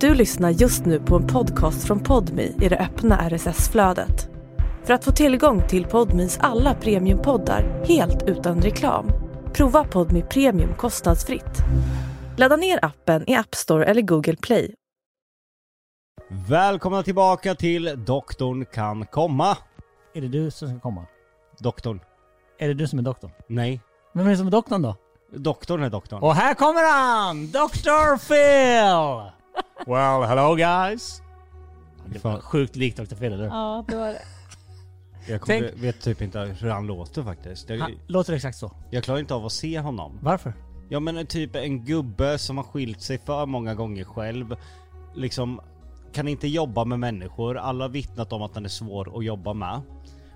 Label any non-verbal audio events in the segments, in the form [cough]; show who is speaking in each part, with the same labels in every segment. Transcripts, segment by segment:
Speaker 1: Du lyssnar just nu på en podcast från Podmi i det öppna RSS-flödet. För att få tillgång till Podmis alla premiumpoddar helt utan reklam, prova Podmi Premium kostnadsfritt. Ladda ner appen i App Store eller Google Play.
Speaker 2: Välkomna tillbaka till Doktorn kan komma.
Speaker 3: Är det du som ska komma?
Speaker 2: Doktorn.
Speaker 3: Är det du som är doktorn?
Speaker 2: Nej.
Speaker 3: Vem är det som är doktorn då?
Speaker 2: Doktorn är doktorn.
Speaker 3: Och här kommer han! Dr. Phil! [laughs] Well, hello guys! Det var
Speaker 2: Fan,
Speaker 3: sjukt likt Dr. Phil, eller hur?
Speaker 4: Ja, det var det.
Speaker 2: jag kommer,
Speaker 3: tänk-
Speaker 2: vet typ inte hur han låter faktiskt. Jag,
Speaker 3: Han låter exakt så.
Speaker 2: jag klarar inte av att se honom.
Speaker 3: Varför?
Speaker 2: Ja men typ en gubbe som har skilt sig för många gånger själv. Liksom, kan inte jobba med människor. Alla har vittnat om att han är svår att jobba med.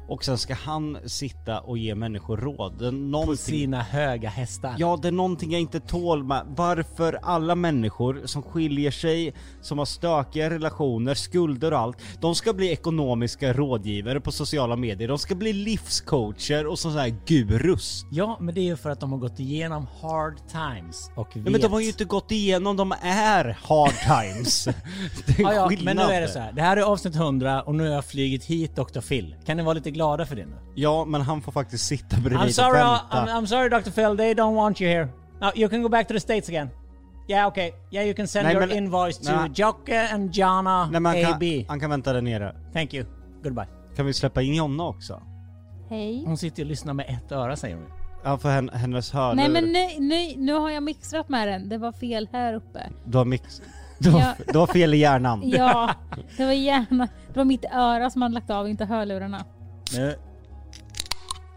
Speaker 2: Och sen ska han sitta och ge människor råd. Det är
Speaker 3: På
Speaker 2: någonting
Speaker 3: sina höga hästar.
Speaker 2: Ja, det är någonting jag inte tål med. Varför alla människor som skiljer sig, som har stökiga relationer, skulder och allt, de ska bli ekonomiska rådgivare på sociala medier. De ska bli livscoacher och sådana här gurus.
Speaker 3: Ja, men det är ju för att de har gått igenom hard times och vet...
Speaker 2: Ja, men de har ju inte gått igenom, de är hard
Speaker 3: [laughs]
Speaker 2: times. det är
Speaker 3: Ja,
Speaker 2: en
Speaker 3: ja,
Speaker 2: skillnad.
Speaker 3: men nu är det så här. Det här är avsnitt 100 och nu har jag flugit hit Dr. Phil. Kan ni vara lite glada för det nu?
Speaker 2: Ja, men han får faktiskt sitta bredvid
Speaker 3: I'm sorry,
Speaker 2: och
Speaker 3: I'm,
Speaker 2: skämta.
Speaker 3: I'm sorry Dr. Phil, they don't want you here. No, you can go back to the States again. Yeah, okay. Yeah, you can send
Speaker 2: Nej,
Speaker 3: your
Speaker 2: men-
Speaker 3: invoice to
Speaker 2: nej.
Speaker 3: Jocke and Jana
Speaker 2: Nej, men han,
Speaker 3: AB.
Speaker 2: kan, han kan vänta där nere.
Speaker 3: Thank you. Goodbye.
Speaker 2: Kan vi släppa in Jonna också?
Speaker 4: Hej.
Speaker 3: Hon sitter och lyssnar med ett öra säger hon.
Speaker 2: Ja, för hen- hennes hörlurar.
Speaker 4: Nej men nej, nej, nu har jag mixat med den. Det var fel här uppe.
Speaker 2: Du har mix... Du har,
Speaker 4: Ja.
Speaker 2: du har fel i hjärnan.
Speaker 4: Ja, det var gärna. Det var mitt öra som hade lagt av, inte hörlurarna.
Speaker 3: Nu.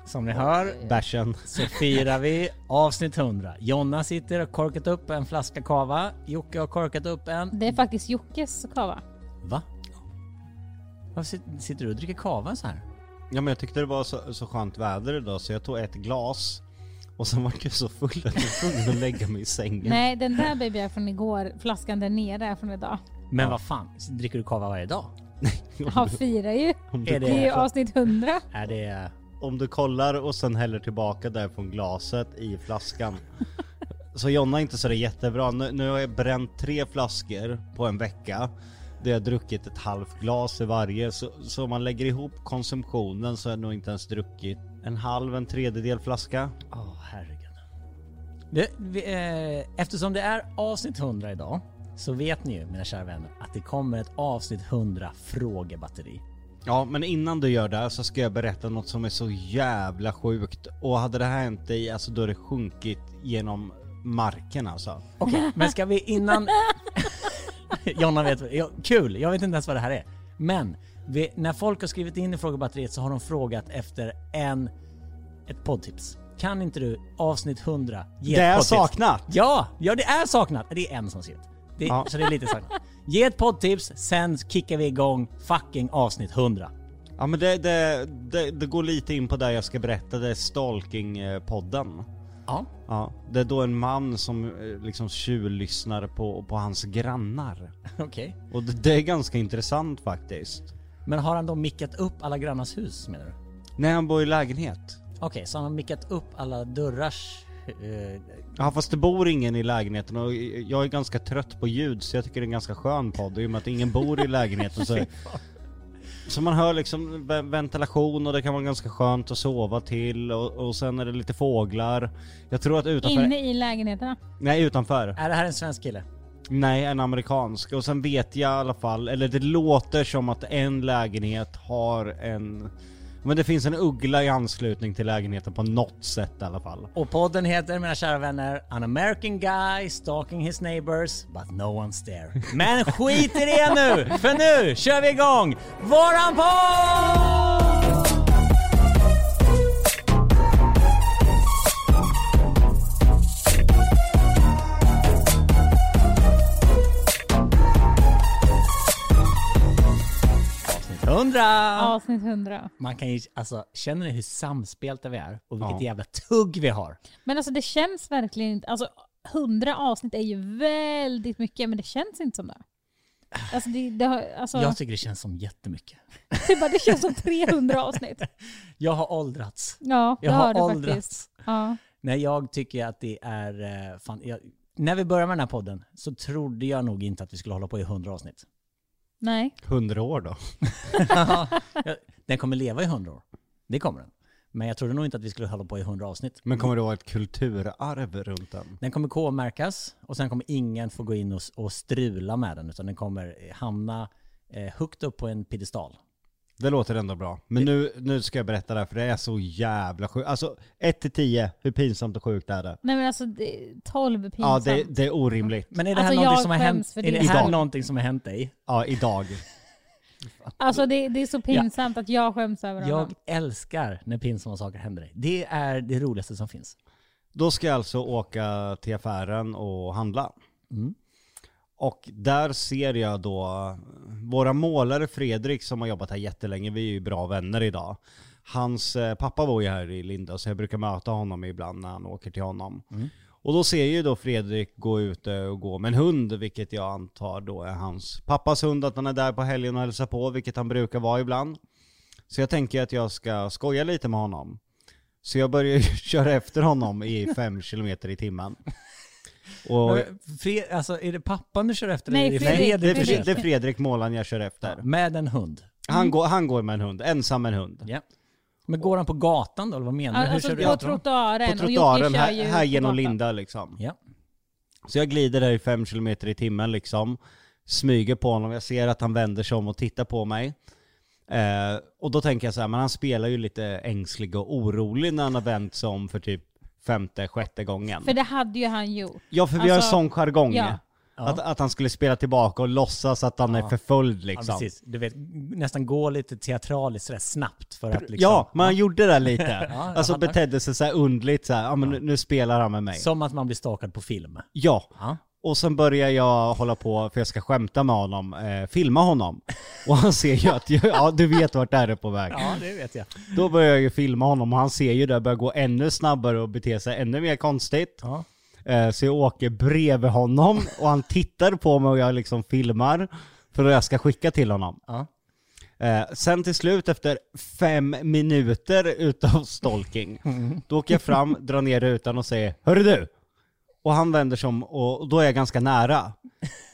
Speaker 3: Som ni hör
Speaker 2: Bärsen.
Speaker 3: så firar vi avsnitt 100. Jonna sitter och korkat upp en flaska kava. Jocke har korkat upp en...
Speaker 4: Det är faktiskt Jockes kava.
Speaker 3: Va? Varför sit- sitter du och dricker kava så här?
Speaker 2: Ja men jag tyckte det var så, så skönt väder idag så jag tog ett glas och sen var jag så full att jag var tvungen att lägga mig i sängen.
Speaker 4: Nej, den där baby är från igår. Flaskan där nere är från idag.
Speaker 3: Men vad fan, dricker du kava varje dag?
Speaker 2: Mm.
Speaker 4: Han firar ju.
Speaker 2: Om
Speaker 3: Är
Speaker 2: du,
Speaker 3: det-
Speaker 4: Det är ju avsnitt 100.
Speaker 3: Är det...
Speaker 2: om du kollar och sen häller tillbaka där från glaset i flaskan. Så Jonna är inte så där jättebra. Nu, nu har jag bränt tre flaskor på en vecka. Där jag druckit ett halvt glas i varje. Så, så om man lägger ihop konsumtionen så har jag nog inte ens druckit en halv, en tredjedel flaska.
Speaker 3: Åh herregud. Det, vi, eh, eftersom det är avsnitt 100 idag så vet ni ju mina kära vänner att det kommer ett avsnitt 100 frågebatteri.
Speaker 2: Ja, men innan du gör det så ska jag berätta något som är så jävla sjukt. Och hade det här hänt dig, alltså då hade det sjunkit genom marken alltså.
Speaker 3: Okej, men ska vi innan... [laughs] Jonna vet ja, Kul! Jag vet inte ens vad det här är. Men vi, när folk har skrivit in i frågebatteriet så har de frågat efter en... Ett poddtips. Kan inte du avsnitt 100 ge
Speaker 2: Det
Speaker 3: ett
Speaker 2: är
Speaker 3: poddtips?
Speaker 2: saknat!
Speaker 3: Ja! Ja det är saknat! Det är en som har skrivit. Det,
Speaker 2: Ja.
Speaker 3: Så det är lite saknat. Ge ett poddtips, sen kickar vi igång fucking avsnitt 100.
Speaker 2: Ja men det, det, det, det går lite in på det jag ska berätta, det är Stalking-podden.
Speaker 3: Ja.
Speaker 2: Ja, det är då en man som eh, liksom tjuvlyssnar på, på hans grannar.
Speaker 3: Okej.
Speaker 2: Och det, det är ganska intressant faktiskt.
Speaker 3: Men har han då mickat upp alla grannars hus menar du?
Speaker 2: När han bor i lägenhet.
Speaker 3: Okej, så han har mickat upp alla dörrars... Eh,
Speaker 2: Ja fast det bor ingen i lägenheten och jag är ganska trött på ljud så jag tycker det är en ganska skön podd i och med att ingen bor i lägenheten så Så man hör liksom ve- ventilation och det kan vara ganska skönt att sova till och, och sen är det lite fåglar Jag tror att utanför...
Speaker 4: Inne i lägenheterna.
Speaker 2: Nej utanför
Speaker 3: är det här en svensk kille?
Speaker 2: Nej en amerikansk och sen vet jag i alla fall, eller det låter som att en lägenhet har en Men det finns en uggla i anslutning till lägenheten på något sätt i alla fall
Speaker 3: Och podden heter, mina kära vänner, An American Guy Stalking His Neighbors But No One's There. Men skit i det nu! För nu kör vi igång våran podd! Avsnitt 100!
Speaker 4: Avsnitt 100.
Speaker 3: Man kan ju, alltså känner ni hur samspelta vi är? Och vilket
Speaker 2: Ja.
Speaker 3: jävla tugg vi har.
Speaker 4: Men alltså det känns verkligen inte, alltså 100 avsnitt är ju väldigt mycket men det känns inte som det. Alltså det, det, har, alltså,
Speaker 3: Jag tycker det känns som jättemycket.
Speaker 4: [laughs] det, bara, det känns som 300 avsnitt.
Speaker 3: Jag har åldrats.
Speaker 4: Ja, det
Speaker 3: Jag
Speaker 4: har
Speaker 3: har
Speaker 4: du faktiskt.
Speaker 3: åldrats.
Speaker 4: Ja.
Speaker 3: Nej, jag tycker att det är, eh, fan, jag, När vi började med den här podden så trodde jag nog inte att vi skulle hålla på i 100 avsnitt.
Speaker 4: Nej.
Speaker 2: Hundra år då?
Speaker 3: Jag- den kommer leva i 100 år. Det kommer den. Men jag trodde nog inte att vi skulle hålla på i 100 avsnitt.
Speaker 2: Men kommer det vara ett kulturarv runt den?
Speaker 3: Den kommer K-märkas och sen kommer ingen få gå in och, och strula med den utan den kommer hamna eh, högt upp på en piedestal.
Speaker 2: Det låter ändå bra. Men nu, nu ska jag berätta det här för det är så jävla sjukt. Alltså 1 till 10, hur pinsamt och sjukt är det?
Speaker 4: Nej men alltså, det, 12 pinsamt.
Speaker 2: Ja det, det är orimligt.
Speaker 3: Men är det här
Speaker 4: Alltså,
Speaker 3: någonting
Speaker 4: jag
Speaker 3: som har
Speaker 4: skäms
Speaker 3: hänt?
Speaker 4: för
Speaker 3: Är
Speaker 4: din
Speaker 3: det här
Speaker 2: skull.
Speaker 3: någonting som har hänt dig?
Speaker 2: Ja idag.
Speaker 4: Alltså det, det är så pinsamt att jag skäms över
Speaker 3: Jag
Speaker 4: honom.
Speaker 3: älskar när pinsamma saker händer dig. Det är det roligaste som finns.
Speaker 2: Då ska jag alltså åka till affären och handla. Och där ser jag då våra målare Fredrik som har jobbat här jättelänge, vi är ju bra vänner idag. Hans eh, pappa bor ju här i Linda så jag brukar möta honom ibland när han åker till honom. Och då ser ju då Fredrik gå ut eh, och gå med en hund, vilket jag antar då är hans pappas hund, att han är där på helgen och hälsar på, vilket han brukar vara ibland. Så jag tänker att jag ska skoja lite med honom. Så jag börjar [laughs] ju köra efter honom i fem kilometer i timmen. Och,
Speaker 3: Men Fre- alltså, är det pappan du kör efter? eller
Speaker 4: Nej,
Speaker 3: är det
Speaker 4: Fredrik. Mm.
Speaker 2: nej, det är,
Speaker 3: du kör
Speaker 2: Fredrik. det
Speaker 3: efter?
Speaker 2: är Fredrik Målan jag kör efter.
Speaker 3: Med en hund?
Speaker 2: Han går, han går med en hund, ensam med en hund.
Speaker 3: Ja. Men går han på gatan då, eller vad menar du? Hur
Speaker 4: Alltså
Speaker 3: kör du
Speaker 4: på
Speaker 3: efter honom?
Speaker 4: trottoaren.
Speaker 2: På
Speaker 4: och Jocke
Speaker 2: trottoaren
Speaker 4: kör
Speaker 2: här,
Speaker 4: ju
Speaker 2: här
Speaker 4: på
Speaker 2: genom
Speaker 4: gatan.
Speaker 2: Linda liksom.
Speaker 3: Ja.
Speaker 2: Så jag glider där i fem kilometer i timmen liksom. Smyger på honom, jag ser att han vänder sig om och tittar på mig. Eh, och då tänker jag så här, men han spelar ju lite ängslig och orolig när han har vänt sig om för typ femte, sjätte gången.
Speaker 4: För det hade ju han gjort.
Speaker 2: Ja, för vi har en
Speaker 4: Alltså,
Speaker 2: sån jargong.
Speaker 4: ja.
Speaker 2: Att, att han skulle spela tillbaka och låtsas att han är förföljd
Speaker 3: Ja,
Speaker 2: liksom.
Speaker 3: precis. Du vet, nästan gå lite teatraliskt sådär snabbt för att liksom...
Speaker 2: Ja, man gjorde det
Speaker 3: [laughs]
Speaker 2: lite.
Speaker 3: jag
Speaker 2: alltså
Speaker 3: fattar.
Speaker 2: betedde sig så här undligt så här, ja men nu, nu spelar han med mig.
Speaker 3: Som att man blir stakad på film.
Speaker 2: Ja.
Speaker 3: Ja.
Speaker 2: Och sen börjar jag hålla på, för jag ska skämta med honom, eh, filma honom. Och han ser ju att, jag, ja du vet vart det här är på väg.
Speaker 3: Ja, det vet jag.
Speaker 2: Då börjar jag ju filma honom och han ser ju det, börjar gå ännu snabbare och bete sig ännu mer konstigt.
Speaker 3: Ja.
Speaker 2: Eh, Så jag åker bredvid honom och han tittar på mig och jag liksom filmar för att jag ska skicka till honom.
Speaker 3: Ja.
Speaker 2: Eh, Sen till slut efter fem minuter utav stalking, då åker jag fram, drar ner rutan och säger Hörru du! Och han vänder sig om och då är jag ganska nära.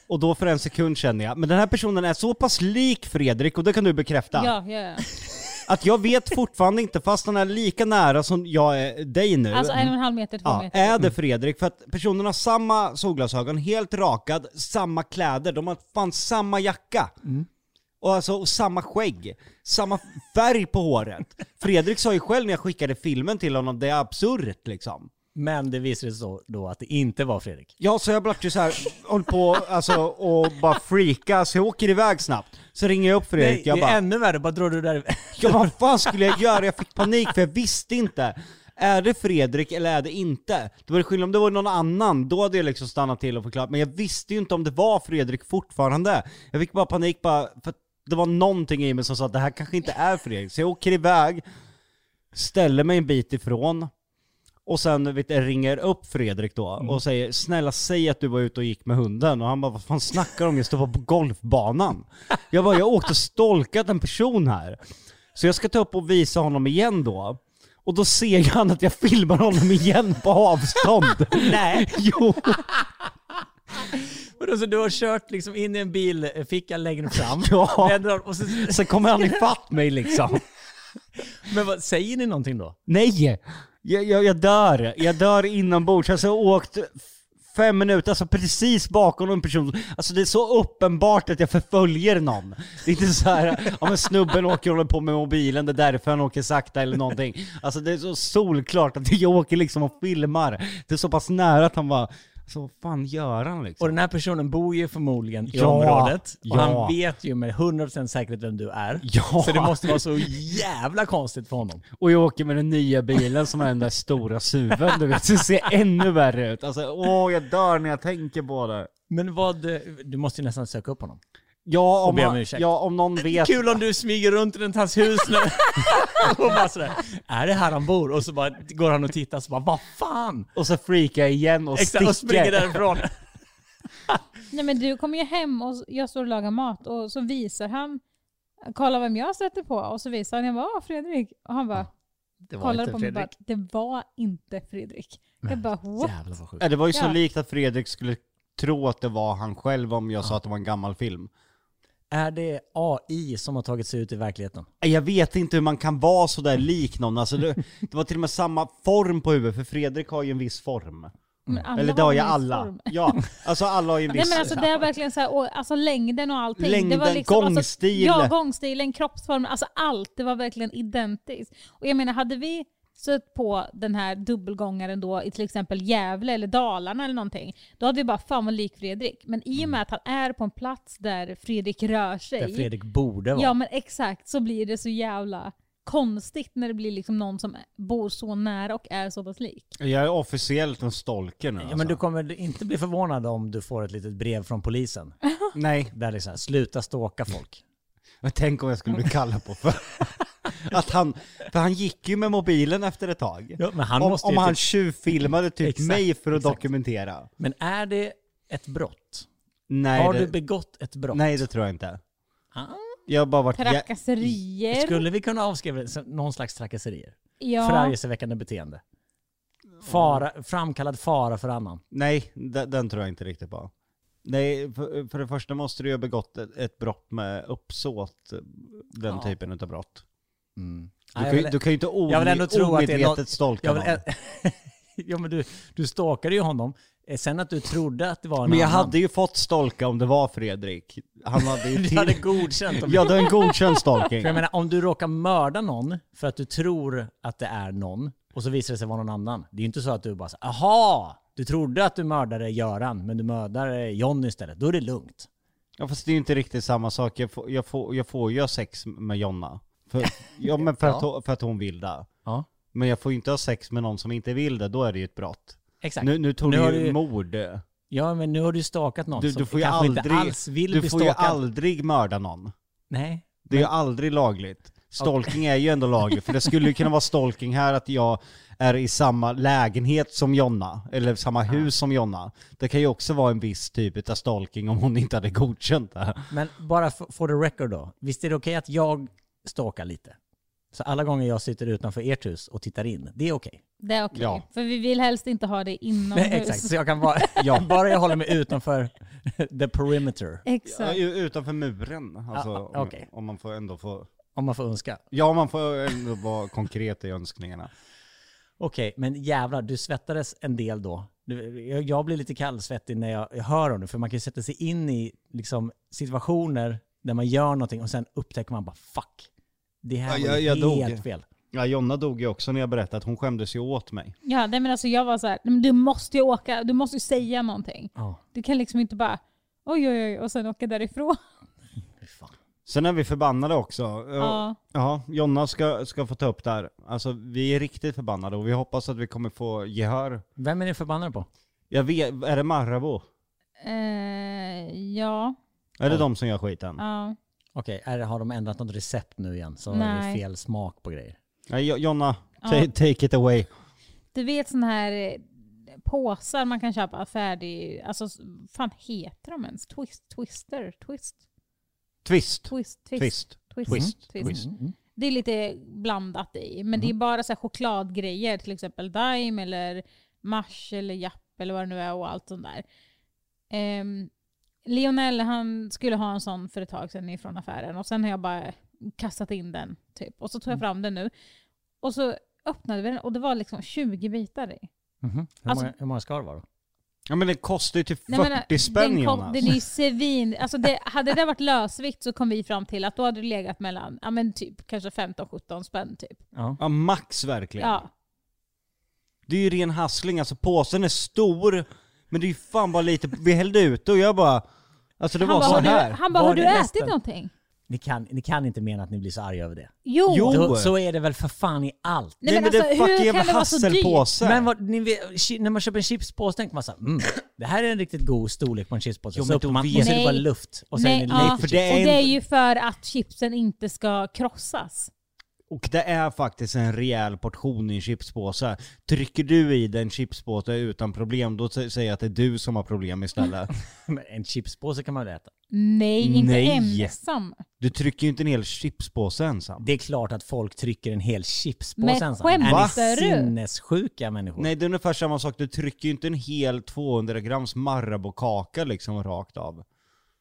Speaker 2: Och då för en sekund känner jag, men den här personen är så pass lik Fredrik, och det kan du bekräfta,
Speaker 4: Ja, ja, ja.
Speaker 2: att jag vet fortfarande inte, fast han är lika nära som jag är dig nu.
Speaker 4: Alltså en och en halv meter, två
Speaker 2: Ja,
Speaker 4: meter.
Speaker 2: är det Fredrik? För att personen har samma solglasögon, helt rakad, samma kläder, de har fan samma jacka. Och, alltså, och samma skägg, samma färg på håret. Fredrik sa ju själv när jag skickade filmen till honom, det är absurt liksom.
Speaker 3: Men det visade sig så då att det inte var Fredrik.
Speaker 2: Ja, så jag blev ju så här, håll på alltså, och bara freaka, så jag åker iväg snabbt. Så ringer jag upp Fredrik,
Speaker 3: Nej, det
Speaker 2: jag
Speaker 3: är
Speaker 2: bara...
Speaker 3: ännu värre, bara drar du där... [laughs]
Speaker 2: Ja vad fan skulle jag göra? Jag fick panik för jag visste inte. Är det Fredrik eller är det inte? Det var skillnad om det var någon annan, då hade jag liksom stannat till och förklarat. Men jag visste ju inte om det var Fredrik fortfarande. Jag fick bara panik bara för att det var någonting i mig som sa att det här kanske inte är Fredrik. Så jag åker iväg, ställer mig en bit ifrån och sen vet, jag, ringer upp Fredrik då och säger snälla säg att du var ute och gick med hunden och han bara vad fan snackar du om? Jag står på golfbanan. Jag bara jag åkte och stalkat en person här. Så jag ska ta upp och visa honom igen då. Och då ser han att jag filmar honom igen på avstånd.
Speaker 3: Nej!
Speaker 2: jo,
Speaker 3: Vadå, så du har kört liksom in i en bilficka längre fram?
Speaker 2: Ja.
Speaker 3: vänder Och så,
Speaker 2: sen kommer han ifatt mig liksom.
Speaker 3: [laughs] men vad, säger ni någonting då?
Speaker 2: Nej! Jag, jag, jag dör. Jag dör inombords. Alltså, jag har åkt f- fem minuter, alltså precis bakom en person. Alltså det är så uppenbart att jag förföljer någon. Det är inte så här, ja men snubben åker och håller på med mobilen, det är därför han åker sakta eller någonting. Alltså det är så solklart att jag åker liksom och filmar. Det är så pass nära att han bara, alltså vad fan gör han liksom?
Speaker 3: Och den här personen bor ju förmodligen i
Speaker 2: Ja,
Speaker 3: området. Och
Speaker 2: ja.
Speaker 3: han vet ju med 100% säkerhet vem du är.
Speaker 2: Ja.
Speaker 3: Så det måste vara så jävla konstigt för honom.
Speaker 2: Och jag åker med den nya bilen som är den där stora suven, du vet. Så det ser ännu värre ut. Alltså åh, jag dör när jag tänker på det.
Speaker 3: Men vad, du måste ju nästan söka upp honom.
Speaker 2: Ja
Speaker 3: Och
Speaker 2: om,
Speaker 3: be om
Speaker 2: man,
Speaker 3: ursäkt.
Speaker 2: ja, om någon vet.
Speaker 3: Kul om du smyger runt runt hans hus
Speaker 2: [laughs]
Speaker 3: nu. och bara sådär, är det här han bor? Och så bara går han och tittar så bara, vad fan?
Speaker 2: Och så freakar jag igen och
Speaker 3: Exakt,
Speaker 2: sticker.
Speaker 3: och
Speaker 2: [laughs]
Speaker 3: springer därifrån.
Speaker 4: Nej men du kommer ju hem och jag står och lagar mat och så visar han, kolla vem jag sätter på och så visar han, jag bara "Ah, Fredrik och han bara
Speaker 5: Det var
Speaker 4: Kollade
Speaker 5: inte
Speaker 4: på mig och bara,
Speaker 5: Fredrik.
Speaker 4: det var inte Fredrik. Jag bara, what?
Speaker 3: Jävlar vad sjukt.
Speaker 2: Ja, det var ju så
Speaker 4: Ja.
Speaker 2: likt att Fredrik skulle tro att det var han själv om jag sa att det var en gammal film.
Speaker 3: Är det AI som har tagit sig ut i verkligheten?
Speaker 2: Nej, Jag vet inte hur man kan vara så där lik någon. Alltså, det, det var till och med samma form på huvudet, för Fredrik har ju en viss form.
Speaker 4: Men alla
Speaker 2: Eller det har ju
Speaker 4: en viss
Speaker 2: alla.
Speaker 4: form.
Speaker 2: Ja, alltså alla har ju en
Speaker 4: Nej
Speaker 2: viss...
Speaker 4: men alltså det är verkligen så här, och, alltså längden och allting. det var
Speaker 2: Längden,
Speaker 4: liksom,
Speaker 2: gångstil.
Speaker 4: Alltså, ja, gångstilen, kroppsformen, alltså allt. Det var verkligen identiskt. Och jag menar, hade vi stött på den här dubbelgångaren då i till exempel Gävle eller Dalarna eller någonting, då hade vi bara fan vad lik Fredrik. Men i och med att han är på en plats där Fredrik rör sig,
Speaker 3: Mm. Där Fredrik borde vara.
Speaker 4: ja men exakt, så blir det så jävla konstigt när det blir liksom någon som bor så nära och är så pass lik.
Speaker 2: Jag är officiellt en stalker nu. alltså.
Speaker 3: Ja, men du kommer inte bli förvånad om du får ett litet brev från polisen.
Speaker 2: alltså. Nej,
Speaker 3: Där det är så här, sluta stalka folk.
Speaker 2: men tänk om jag skulle bli kallad på för... [laughs] Att han, för han gick ju med mobilen efter ett tag.
Speaker 3: Ja, men han
Speaker 2: om
Speaker 3: måste
Speaker 2: om
Speaker 3: ju
Speaker 2: han
Speaker 3: typ-
Speaker 2: tjuvfilmade typ
Speaker 3: Exakt,
Speaker 2: mig för att
Speaker 3: exakt.
Speaker 2: dokumentera.
Speaker 3: Men är det ett brott?
Speaker 2: Nej,
Speaker 3: har
Speaker 2: det,
Speaker 3: du begått ett brott?
Speaker 2: nej, det tror jag inte.
Speaker 3: Ah.
Speaker 2: Jag har bara varit... jä-
Speaker 4: Trakasserier.
Speaker 3: Skulle vi kunna avskriva det som någon slags trakasserier?
Speaker 4: ja.
Speaker 3: Förargelseväckande beteende? Fara, framkallad fara för annan?
Speaker 2: Nej, den, den tror jag inte riktigt på. Nej, för, för det första måste du ju ha begått ett, ett brott med uppsåt, den
Speaker 3: Ja.
Speaker 2: typen av brott. Du,
Speaker 3: Nej, jag
Speaker 2: kan, ju-
Speaker 3: vill-
Speaker 2: du kan ju inte omed,
Speaker 3: jag vill ändå tro att det är
Speaker 2: omedvetet
Speaker 3: något-
Speaker 2: stalka
Speaker 3: jag vill,
Speaker 2: någon.
Speaker 3: [laughs] ja, men du, du stalkade ju honom. Eh, Sen att du trodde att det var en
Speaker 2: Men jag
Speaker 3: annan.
Speaker 2: hade ju fått stalka om det var Fredrik. Han hade ju
Speaker 3: [laughs] Du hade
Speaker 2: till...
Speaker 3: godkänt om
Speaker 2: Jag hade en godkänd stalking.
Speaker 3: [laughs] För jag menar, om du råkar mörda någon för att du tror att det är någon och så visar det sig vara någon annan. Det är ju inte så att du bara så, aha, du trodde att du mördade Göran men du mördade John istället. Då är det lugnt.
Speaker 2: Ja, fast det är ju inte riktigt samma sak. Jag får, jag får, jag får ju ha sex med Jonna. För, ja, men för, att, hon- för att hon vill det.
Speaker 3: Ja,
Speaker 2: Men jag får ju inte ha sex med någon som inte vill det, då är det ju ett brott.
Speaker 3: exakt.
Speaker 2: Nu, nu tog
Speaker 3: Nu har
Speaker 2: du
Speaker 3: du ju-
Speaker 2: ju mord.
Speaker 3: ja, men nu har du stakat någon
Speaker 2: Du,
Speaker 3: som
Speaker 2: du får ju
Speaker 3: kanske
Speaker 2: aldrig,
Speaker 3: inte alls vill
Speaker 2: du
Speaker 3: bli
Speaker 2: får ju
Speaker 3: stalkad.
Speaker 2: aldrig mörda någon.
Speaker 3: Nej.
Speaker 2: Det är ju aldrig lagligt. Stalking är ju ändå lagligt, för det skulle ju kunna vara stalking här att jag är i samma lägenhet som Jonna, eller samma hus som Jonna. Det kan ju också vara en viss typ av stalking om hon inte hade godkänt det.
Speaker 3: Men bara f- for the record då. Visst är det okej att jag stalkar lite? Så alla gånger jag sitter utanför ert hus och tittar in, det är okej.
Speaker 4: Det är okej,
Speaker 2: Ja.
Speaker 4: för vi vill helst inte ha det
Speaker 3: Nej,
Speaker 4: inomhus.
Speaker 3: [laughs] Exakt, så jag kan bara,
Speaker 2: Ja.
Speaker 3: [laughs] bara jag håller mig utanför the perimeter.
Speaker 2: Ja,
Speaker 4: [laughs] Exakt.
Speaker 2: ju utanför muren, alltså,
Speaker 3: Ah, ah,
Speaker 2: om-
Speaker 3: okej.
Speaker 2: om man får ändå få...
Speaker 3: Om man får önska.
Speaker 2: Ja, man får ändå vara konkret i önskningarna.
Speaker 3: Okej, men jävlar, du svettades en del då. Du- Jag jag blir lite kallsvettig när jag jag hör om det, för man kan ju sätta sig in i liksom, situationer där man gör någonting och sen upptäcker man bara fuck, det här
Speaker 2: Ja,
Speaker 3: var
Speaker 2: jag-
Speaker 3: ju
Speaker 2: jag dog.
Speaker 3: helt fel.
Speaker 2: Ja, Jonna dog ju också när jag berättade att hon skämdes ju åt mig.
Speaker 4: Ja, nej, men alltså jag var så här, nej, men du måste ju åka, du måste ju säga någonting.
Speaker 3: Ja,
Speaker 4: Du kan liksom inte bara oj oj oj och sen åka därifrån.
Speaker 3: fy fan.
Speaker 2: Sen är vi förbannade också.
Speaker 4: Ja.
Speaker 2: Ja, Jonna ska, ska få ta upp där. Alltså vi är riktigt förbannade och vi hoppas att vi kommer få gehör.
Speaker 3: Vem är ni förbannade på?
Speaker 2: Jag vet, är det Marabou?
Speaker 4: Eh, ja,
Speaker 2: Är det de som gör skiten?
Speaker 4: ja.
Speaker 3: Okej, är det- har de ändrat något recept nu igen? Så är det
Speaker 4: Nej.
Speaker 3: fel smak på grejer.
Speaker 2: Nej, Jo- Jonna,
Speaker 4: Ja.
Speaker 2: ta- take it away.
Speaker 4: Du vet sådana här eh, påsar man kan köpa färdig, alltså s- fan heter de ens? Twist, twister, twist,
Speaker 2: Twist.
Speaker 4: twist, twist.
Speaker 2: Twist.
Speaker 4: Twist.
Speaker 2: Twist.
Speaker 4: Twist.
Speaker 2: Twist.
Speaker 3: Mm.
Speaker 4: Det är lite blandat i,
Speaker 2: Mhm.
Speaker 4: men det är bara så här chokladgrejer, till exempel Daim eller Mars eller Japp eller vad det nu är och allt sånt där. Ehm, Lionel han skulle ha en sån för ett tag sedan ifrån affären och sen har jag bara kastat in den typ. Och så tog jag
Speaker 2: Mm.
Speaker 4: fram den nu och så öppnade vi den och det var liksom 20 bitar i.
Speaker 3: Mhm. Hur,
Speaker 4: Alltså-
Speaker 3: många, hur många ska det vara då?
Speaker 2: Ja men det kostar ju typ 40
Speaker 4: men, äh,
Speaker 2: spänn
Speaker 4: den kom,
Speaker 2: Jonas.
Speaker 4: Den är ju svin... Alltså det, hade det varit lösvikt så kom vi fram till att då hade det legat mellan, ja men typ kanske 15-17 spänn typ.
Speaker 3: Ja.
Speaker 2: Ja max verkligen.
Speaker 4: Ja.
Speaker 2: Det är ju ren hassling alltså. Påsen är stor, men det är ju fan bara lite. Vi hällde ut det och jag bara... Alltså det
Speaker 4: Han
Speaker 2: var
Speaker 4: bara,
Speaker 2: så
Speaker 4: har du,
Speaker 2: här.
Speaker 4: han bara,
Speaker 3: Var
Speaker 4: har du
Speaker 3: det
Speaker 4: ätit
Speaker 3: resten?
Speaker 4: någonting?
Speaker 3: Ni, kan, ni kan inte mena att ni blir så arga över det.
Speaker 4: Jo!
Speaker 2: Jo.
Speaker 3: Då, så är det väl för fan i allt.
Speaker 4: Nej, men
Speaker 2: det är
Speaker 4: alltså, hur
Speaker 2: fucking
Speaker 4: kan
Speaker 2: jävla
Speaker 4: det vara så dyrt?
Speaker 2: hasselpåse.
Speaker 3: Men vad, ni vet, chi- när man köper en chipspåse tänker man såhär, mm, det här är en riktigt god storlek på en chipspåse.
Speaker 2: Jo,
Speaker 3: så
Speaker 2: men
Speaker 3: öppnar
Speaker 2: då
Speaker 3: man och
Speaker 2: vet-
Speaker 3: så är det bara
Speaker 4: Nej.
Speaker 3: luft. Och så är det
Speaker 4: Nej,
Speaker 3: lite
Speaker 4: ja.
Speaker 2: för det är
Speaker 4: och det är
Speaker 2: inte-
Speaker 4: ju för att chipsen inte ska krossas.
Speaker 2: Och det är faktiskt en rejäl portion i en chipspåse. Trycker du i den
Speaker 4: [laughs]
Speaker 2: chipspåse utan problem, då sä- säger jag att det är du som har problem istället.
Speaker 3: Men En chipspåse kan man väl äta?
Speaker 4: Nej, inte
Speaker 2: Nej.
Speaker 4: ensam.
Speaker 2: Du trycker ju inte en hel chipspåse ensam.
Speaker 3: Det är klart att folk trycker en hel chipspåse
Speaker 4: Men
Speaker 3: ensam. Är ni
Speaker 4: skämtar du?
Speaker 3: sinnessjuka människor?
Speaker 2: Nej det är ungefär samma sak, du trycker ju inte en hel 200 grams Marabou-kaka liksom rakt av.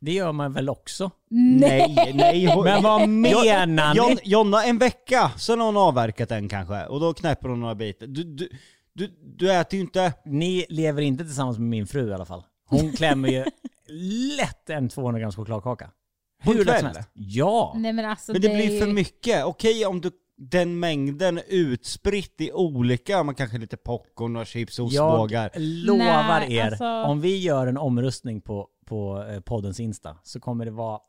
Speaker 3: Det gör man väl också?
Speaker 2: Nej,
Speaker 4: [laughs]
Speaker 2: nej. hon-
Speaker 3: Men vad menar ni?
Speaker 2: Jon, Jonna, en vecka, sen har hon avverkat en kanske. Och då knäpper hon några bitar. Du, du, du, du äter ju inte...
Speaker 3: Ni lever inte tillsammans med min fru i alla fall. Hon klämmer ju [laughs] lätt en 200 grams chokladkaka.
Speaker 2: På en
Speaker 3: Hur lätt som
Speaker 2: kväll?
Speaker 3: helst. Ja!
Speaker 4: Nej men alltså
Speaker 2: Men det,
Speaker 4: är
Speaker 2: blir
Speaker 4: ju-
Speaker 2: för mycket. Okej om du, den mängden utspritt i olika, man kanske lite popcorn och chips och ostbågar.
Speaker 3: Jag lovar
Speaker 4: Nej,
Speaker 3: er,
Speaker 4: alltså-
Speaker 3: om vi gör en omröstning på, på eh, poddens Insta så kommer det vara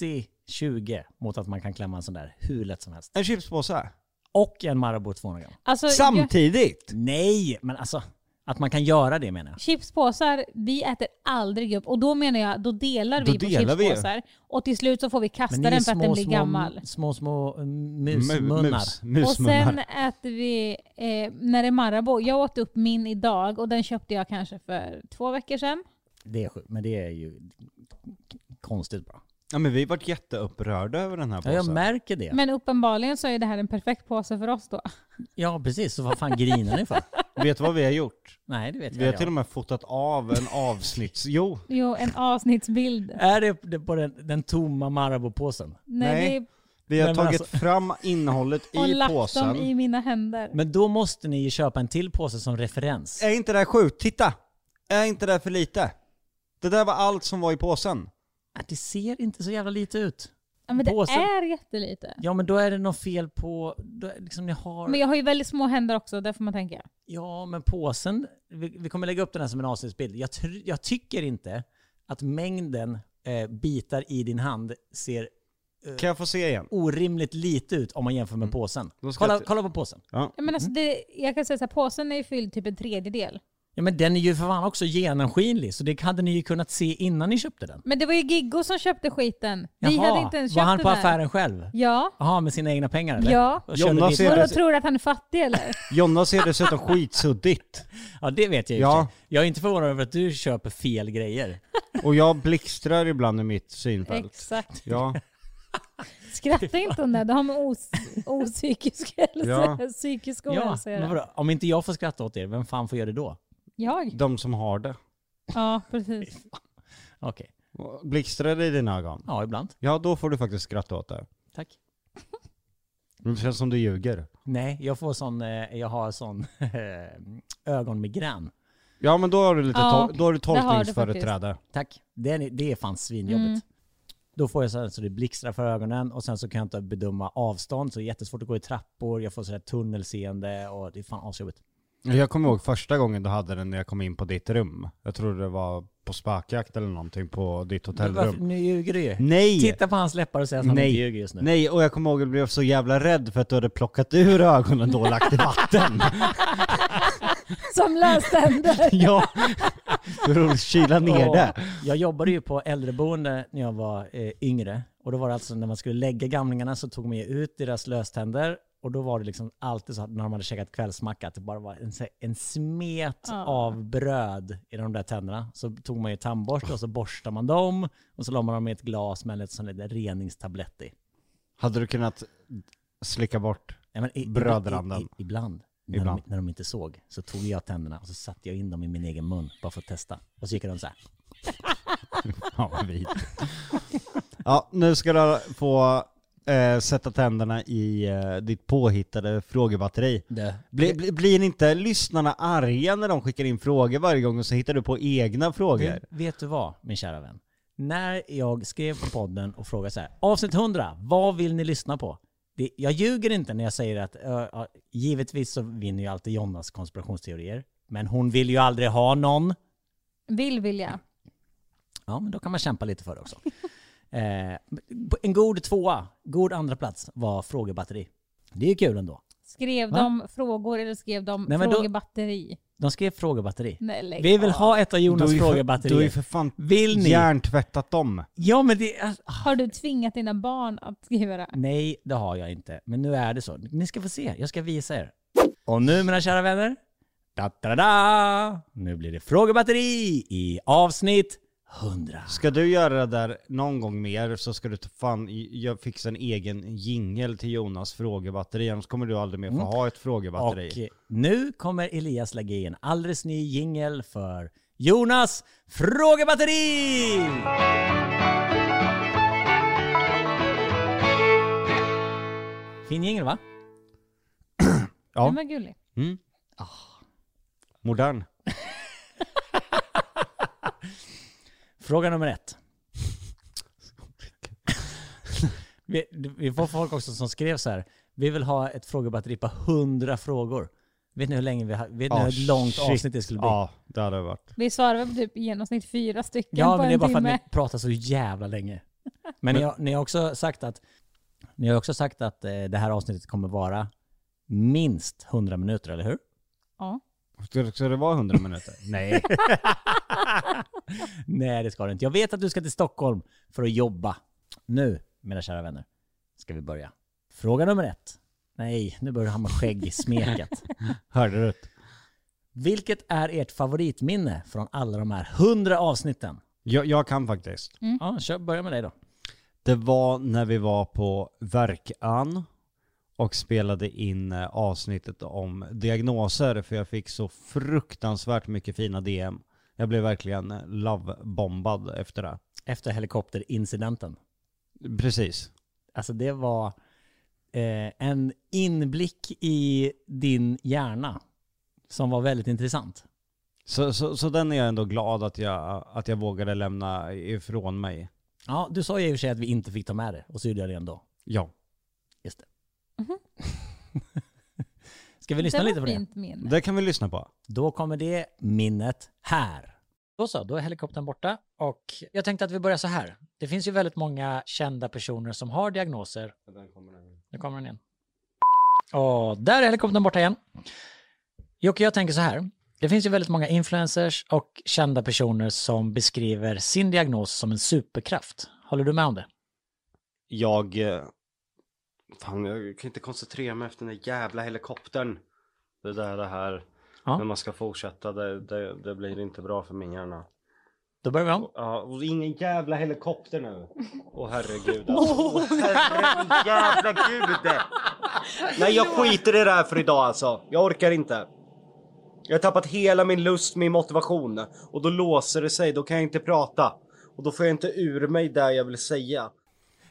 Speaker 3: 80-20 mot att man kan klämma en sån där hur lätt som helst.
Speaker 2: En chipspåse.
Speaker 3: Och en Marabou 200 gram.
Speaker 4: Alltså, jag-
Speaker 2: Samtidigt!
Speaker 3: Nej, men alltså att man kan göra det menar jag.
Speaker 4: Chipspåsar, vi äter aldrig upp. Och då menar jag, då delar
Speaker 2: Då
Speaker 4: vi
Speaker 2: delar
Speaker 4: på
Speaker 2: vi ju.
Speaker 4: chipspåsar. Och till slut så får vi kasta
Speaker 3: Men
Speaker 4: den
Speaker 3: ni
Speaker 4: för
Speaker 3: är
Speaker 4: att den
Speaker 3: små,
Speaker 4: blir
Speaker 3: små,
Speaker 4: gammal.
Speaker 3: små, små eh,
Speaker 2: Mu-
Speaker 3: musmunnar.
Speaker 2: Mus,
Speaker 4: Och sen
Speaker 2: musmunnar.
Speaker 4: äter vi, eh, när det är Marabou, jag åt upp min idag och den köpte jag kanske för två veckor sedan.
Speaker 3: Det är sjukt, men det är ju konstigt bara.
Speaker 2: Ja, men vi vart jätteupprörda över den här
Speaker 3: Ja,
Speaker 2: påsen.
Speaker 3: jag märker det.
Speaker 4: Men uppenbarligen så är det här en perfekt påse för oss då.
Speaker 3: Ja, precis. Så vad fan grinar ni för?
Speaker 2: Vet du vad vi har gjort?
Speaker 3: Nej, det vet
Speaker 2: Vi har
Speaker 3: jag.
Speaker 2: till och med fotat av en avsnitts... Jo,
Speaker 4: Jo, en avsnittsbild.
Speaker 3: Är det- det på den, den tomma Marabou-påsen?
Speaker 4: När
Speaker 2: Nej.
Speaker 4: vi,
Speaker 2: vi har
Speaker 3: Nej, men alltså-
Speaker 2: tagit fram innehållet
Speaker 4: och
Speaker 2: i
Speaker 4: lagt
Speaker 2: påsen.
Speaker 4: dem i mina händer.
Speaker 3: Men då måste ni ju köpa en till påse som
Speaker 4: Eh.
Speaker 3: referens.
Speaker 2: Är inte det här sjukt? Titta! Är inte det här för lite? Det där var allt som var i påsen.
Speaker 3: Äh, Det ser inte så jävla lite ut.
Speaker 4: Ja, men det
Speaker 3: påsen-
Speaker 4: är jättelite.
Speaker 3: Ja, men då är det något fel på... Då, är- liksom, ni har,
Speaker 4: Men jag har ju väldigt små händer också, där får man tänka.
Speaker 3: Ja, men påsen... Vi, vi kommer lägga upp den här som en avsnittsbild. Jag, tr- jag tycker inte att mängden eh, bitar i din hand ser
Speaker 2: Kan jag få se igen?
Speaker 3: orimligt lite ut om man jämför med påsen.
Speaker 2: Mm. Då ska
Speaker 3: Kolla,
Speaker 2: jag t-
Speaker 3: kolla på påsen.
Speaker 2: Ja.
Speaker 4: Ja, men
Speaker 3: Mm.
Speaker 4: alltså det, jag kan säga så här, påsen är ju fylld typ en tredjedel.
Speaker 3: Ja, men den är ju för fan också genomskinlig, så det hade ni ju kunnat se innan ni köpte den.
Speaker 4: Men det var ju Giggo som köpte skiten. Vi hade inte ens köpt
Speaker 3: var han
Speaker 4: den
Speaker 3: på
Speaker 4: här.
Speaker 3: affären själv?
Speaker 4: Ja.
Speaker 3: Jaha, med sina egna pengar eller?
Speaker 4: Ja.
Speaker 3: Och körde
Speaker 2: Jonna
Speaker 3: dit-
Speaker 2: ser-
Speaker 4: Vadå,
Speaker 2: precis.
Speaker 4: tror du att han är
Speaker 3: [laughs]
Speaker 4: fattig eller?
Speaker 2: Jonna ser dessutom skitsuddigt.
Speaker 3: Ja, det vet jag ju.
Speaker 2: Ja.
Speaker 3: Ja. Jag är inte förvånad över att du köper fel grejer.
Speaker 2: Och jag blixtrar ibland i mitt synfält.
Speaker 4: Exakt.
Speaker 2: Ja.
Speaker 4: Skratta inte om det, det har med os- opsykisk hälsa,
Speaker 2: Ja.
Speaker 4: [laughs] psykisk
Speaker 3: Ja,
Speaker 4: ohälsa att
Speaker 3: men
Speaker 4: göra.
Speaker 3: vadå? Om inte jag får skratta åt er, vem fan får göra det då?
Speaker 4: Jag?
Speaker 2: De som har det.
Speaker 4: Ja, precis.
Speaker 3: Okej.
Speaker 2: Blixtrar det i dina ögon?
Speaker 3: Ja, ibland.
Speaker 2: Ja, då får du faktiskt skratta åt det.
Speaker 3: Tack.
Speaker 2: Men Det känns som du ljuger.
Speaker 3: Nej, jag får sån, eh, jag har sån [laughs] eh, ögonmigrän.
Speaker 2: Ja, men då har du lite
Speaker 4: Ja,
Speaker 2: tol- då har du
Speaker 4: har du
Speaker 2: tolkningsföreträde.
Speaker 3: Tack. Det är, det är fan svinjobbigt. Då får jag så, här, så det blixtrar för ögonen och sen så kan jag inte bedöma avstånd så det är jättesvårt att gå i trappor, jag får sådär tunnelseende och det är fan asjobbigt.
Speaker 2: Jag kommer ihåg första gången du hade den när jag kom in på ditt rum. Jag trodde det var på spökjakt eller någonting på ditt
Speaker 3: Men varför-
Speaker 2: hotellrum.
Speaker 3: Nu ljuger du ju.
Speaker 2: Nej!
Speaker 3: Titta på hans läppar och säg att han
Speaker 2: Nej.
Speaker 3: inte ljuger just nu.
Speaker 2: Nej, och jag kommer ihåg att jag blev så jävla rädd för att du hade plockat ur ögonen då och lagt i
Speaker 3: [laughs]
Speaker 2: vatten.
Speaker 4: Som löständer.
Speaker 2: ja. För att kyla ner
Speaker 3: Och
Speaker 2: det.
Speaker 3: Jag jobbade ju på äldreboende när jag var eh, yngre. Och då var det alltså när man skulle lägga gamlingarna så tog man ju ut deras löständer. Och då var det liksom alltid så att när de hade käkat kvällsmacka att det bara var en, så- en smet
Speaker 4: Ah.
Speaker 3: av bröd i de där tänderna. Så tog man ju tandborste och så borstade man dem. Och så la man dem i ett glas med en liten sån där reningstablett i.
Speaker 2: Hade du kunnat slicka bort?
Speaker 3: Nej, men i- i-
Speaker 2: Brödranden.
Speaker 3: i- i- Ibland. När,
Speaker 2: Ibland.
Speaker 3: De, när de inte såg så tog jag tänderna och så satte jag in dem i min egen mun bara för att testa. Och så gick de så här.
Speaker 2: Ja, vad vidrigt. Ja, nu ska du få eh, sätta tänderna i eh, ditt påhittade frågebatteri. Bli, bli, blir inte lyssnarna arga när de skickar in frågor varje gång och så hittar du på egna frågor?
Speaker 3: Men Vet du vad, min kära vän? När jag skrev på podden och frågade så här, avsnitt 100, vad vill ni lyssna på? Det, jag ljuger inte när jag säger att ö, ö, givetvis så vinner ju alltid Jonas konspirationsteorier, men hon vill ju aldrig ha någon.
Speaker 4: Vill vilja.
Speaker 3: Ja, men då kan man kämpa lite för det också. [laughs] eh, en god tvåa, god andra plats var frågebatteri. Det är ju kul ändå.
Speaker 4: Skrev
Speaker 3: Va?
Speaker 4: de frågor eller skrev de
Speaker 3: Nej, men då-
Speaker 4: frågebatteri?
Speaker 3: De skrev frågebatteri.
Speaker 4: Nej, lägg
Speaker 3: Vi vill
Speaker 4: av.
Speaker 3: ha ett av
Speaker 2: Du har
Speaker 3: Jonas
Speaker 2: ju för- Du har ju
Speaker 3: frågebatterier.
Speaker 2: för fan
Speaker 3: Vill ni?
Speaker 2: hjärntvättat dem.
Speaker 3: Ja, men det... Alltså,
Speaker 4: Har du tvingat dina barn att skriva det?
Speaker 3: Nej, det har jag inte. Men nu är det så. Ni ska få se. Jag ska visa er. Och nu mina kära vänner. Da, da, da, da. Nu blir det frågebatteri i avsnitt hundra.
Speaker 2: Ska du göra det där någon gång mer så ska du ta fan jag fixa en egen jingel till Jonas frågebatteri. Annars kommer du aldrig mer få
Speaker 3: Mm.
Speaker 2: ha ett
Speaker 3: Och
Speaker 2: frågebatteri.
Speaker 3: eh, nu kommer Elias lägga in alldeles ny jingel för Jonas frågebatteri! Fin jingel va?
Speaker 2: Ja.
Speaker 4: Den var gullig.
Speaker 2: Mm. Modern.
Speaker 3: Fråga
Speaker 2: [laughs]
Speaker 3: nummer ett. Vi, vi får folk också som skrev så här. Vi vill ha ett frågebatteri på 100 frågor. Vet ni hur länge vi har, vet ni
Speaker 2: Ah,
Speaker 3: hur långt
Speaker 2: shit. Ah.
Speaker 3: avsnitt det skulle bli?
Speaker 2: Ja, det hade det varit.
Speaker 4: Vi svarade väl på typ i genomsnitt fyra stycken
Speaker 3: Ja,
Speaker 4: på
Speaker 3: men
Speaker 4: en
Speaker 3: det är bara för
Speaker 4: timme.
Speaker 3: att ni pratar så
Speaker 2: [laughs]
Speaker 3: jävla länge. Men ni har, ni har också sagt att, ni har också sagt att eh, det här avsnittet kommer vara minst 100 minuter, eller hur?
Speaker 4: Ja.
Speaker 2: Ska, ska det vara 100 minuter? Nej.
Speaker 3: Nej, det ska det inte. Jag vet att du ska till Stockholm för att jobba. Nu, mina kära vänner, ska vi börja. Fråga nummer ett. Nej, nu börjar han med skägg i
Speaker 4: [laughs]
Speaker 3: smeket.
Speaker 2: Hörde du?
Speaker 3: Vilket är ert favoritminne från alla de här 100 avsnitten?
Speaker 2: Jag, jag kan faktiskt.
Speaker 3: Ja, kör, börja med dig då.
Speaker 2: Det var när vi var på Verkan och spelade in eh, avsnittet om diagnoser för jag fick så fruktansvärt mycket fina DM. Jag blev verkligen eh, lovebombad efter det.
Speaker 3: Efter helikopterincidenten.
Speaker 2: Precis.
Speaker 3: Alltså det var eh, en inblick i din hjärna som var väldigt intressant.
Speaker 2: Så, så, så den är jag ändå glad att jag, att jag vågade lämna ifrån mig.
Speaker 3: Ja, du sa ju i och för sig att vi inte fick ta med det och så gjorde jag det ändå.
Speaker 2: Ja.
Speaker 3: Just det.
Speaker 4: Mhm.
Speaker 3: Ska vi lyssna
Speaker 4: det
Speaker 3: lite på
Speaker 4: var
Speaker 3: det?
Speaker 4: fint minne.
Speaker 2: Det kan vi lyssna på.
Speaker 3: Då kommer det minnet här. Då så, då är helikoptern borta och jag tänkte att vi börjar så här. Det finns ju väldigt många kända personer som har diagnoser. Nu kommer den igen. Och där är helikoptern borta igen. Jocke, jag tänker så här. Det finns ju väldigt många influencers och kända personer som beskriver sin diagnos som en superkraft. Håller du med om det?
Speaker 5: Jag... eh, Fan, jag kan inte koncentrera mig efter den där jävla helikoptern. Det där, det här.
Speaker 3: Ja.
Speaker 5: När man ska fortsätta, det, det, det blir inte bra för min hjärna.
Speaker 3: Då börjar vi om.
Speaker 5: Ja, och ingen jävla helikopter nu. Åh herregud alltså. Åh herregud, jävla gud! Nej jag skiter i det här för idag alltså. Jag orkar inte. Jag har tappat hela min lust, min motivation. Och då låser det sig, då kan jag inte prata. Och då får jag inte ur mig det jag vill säga.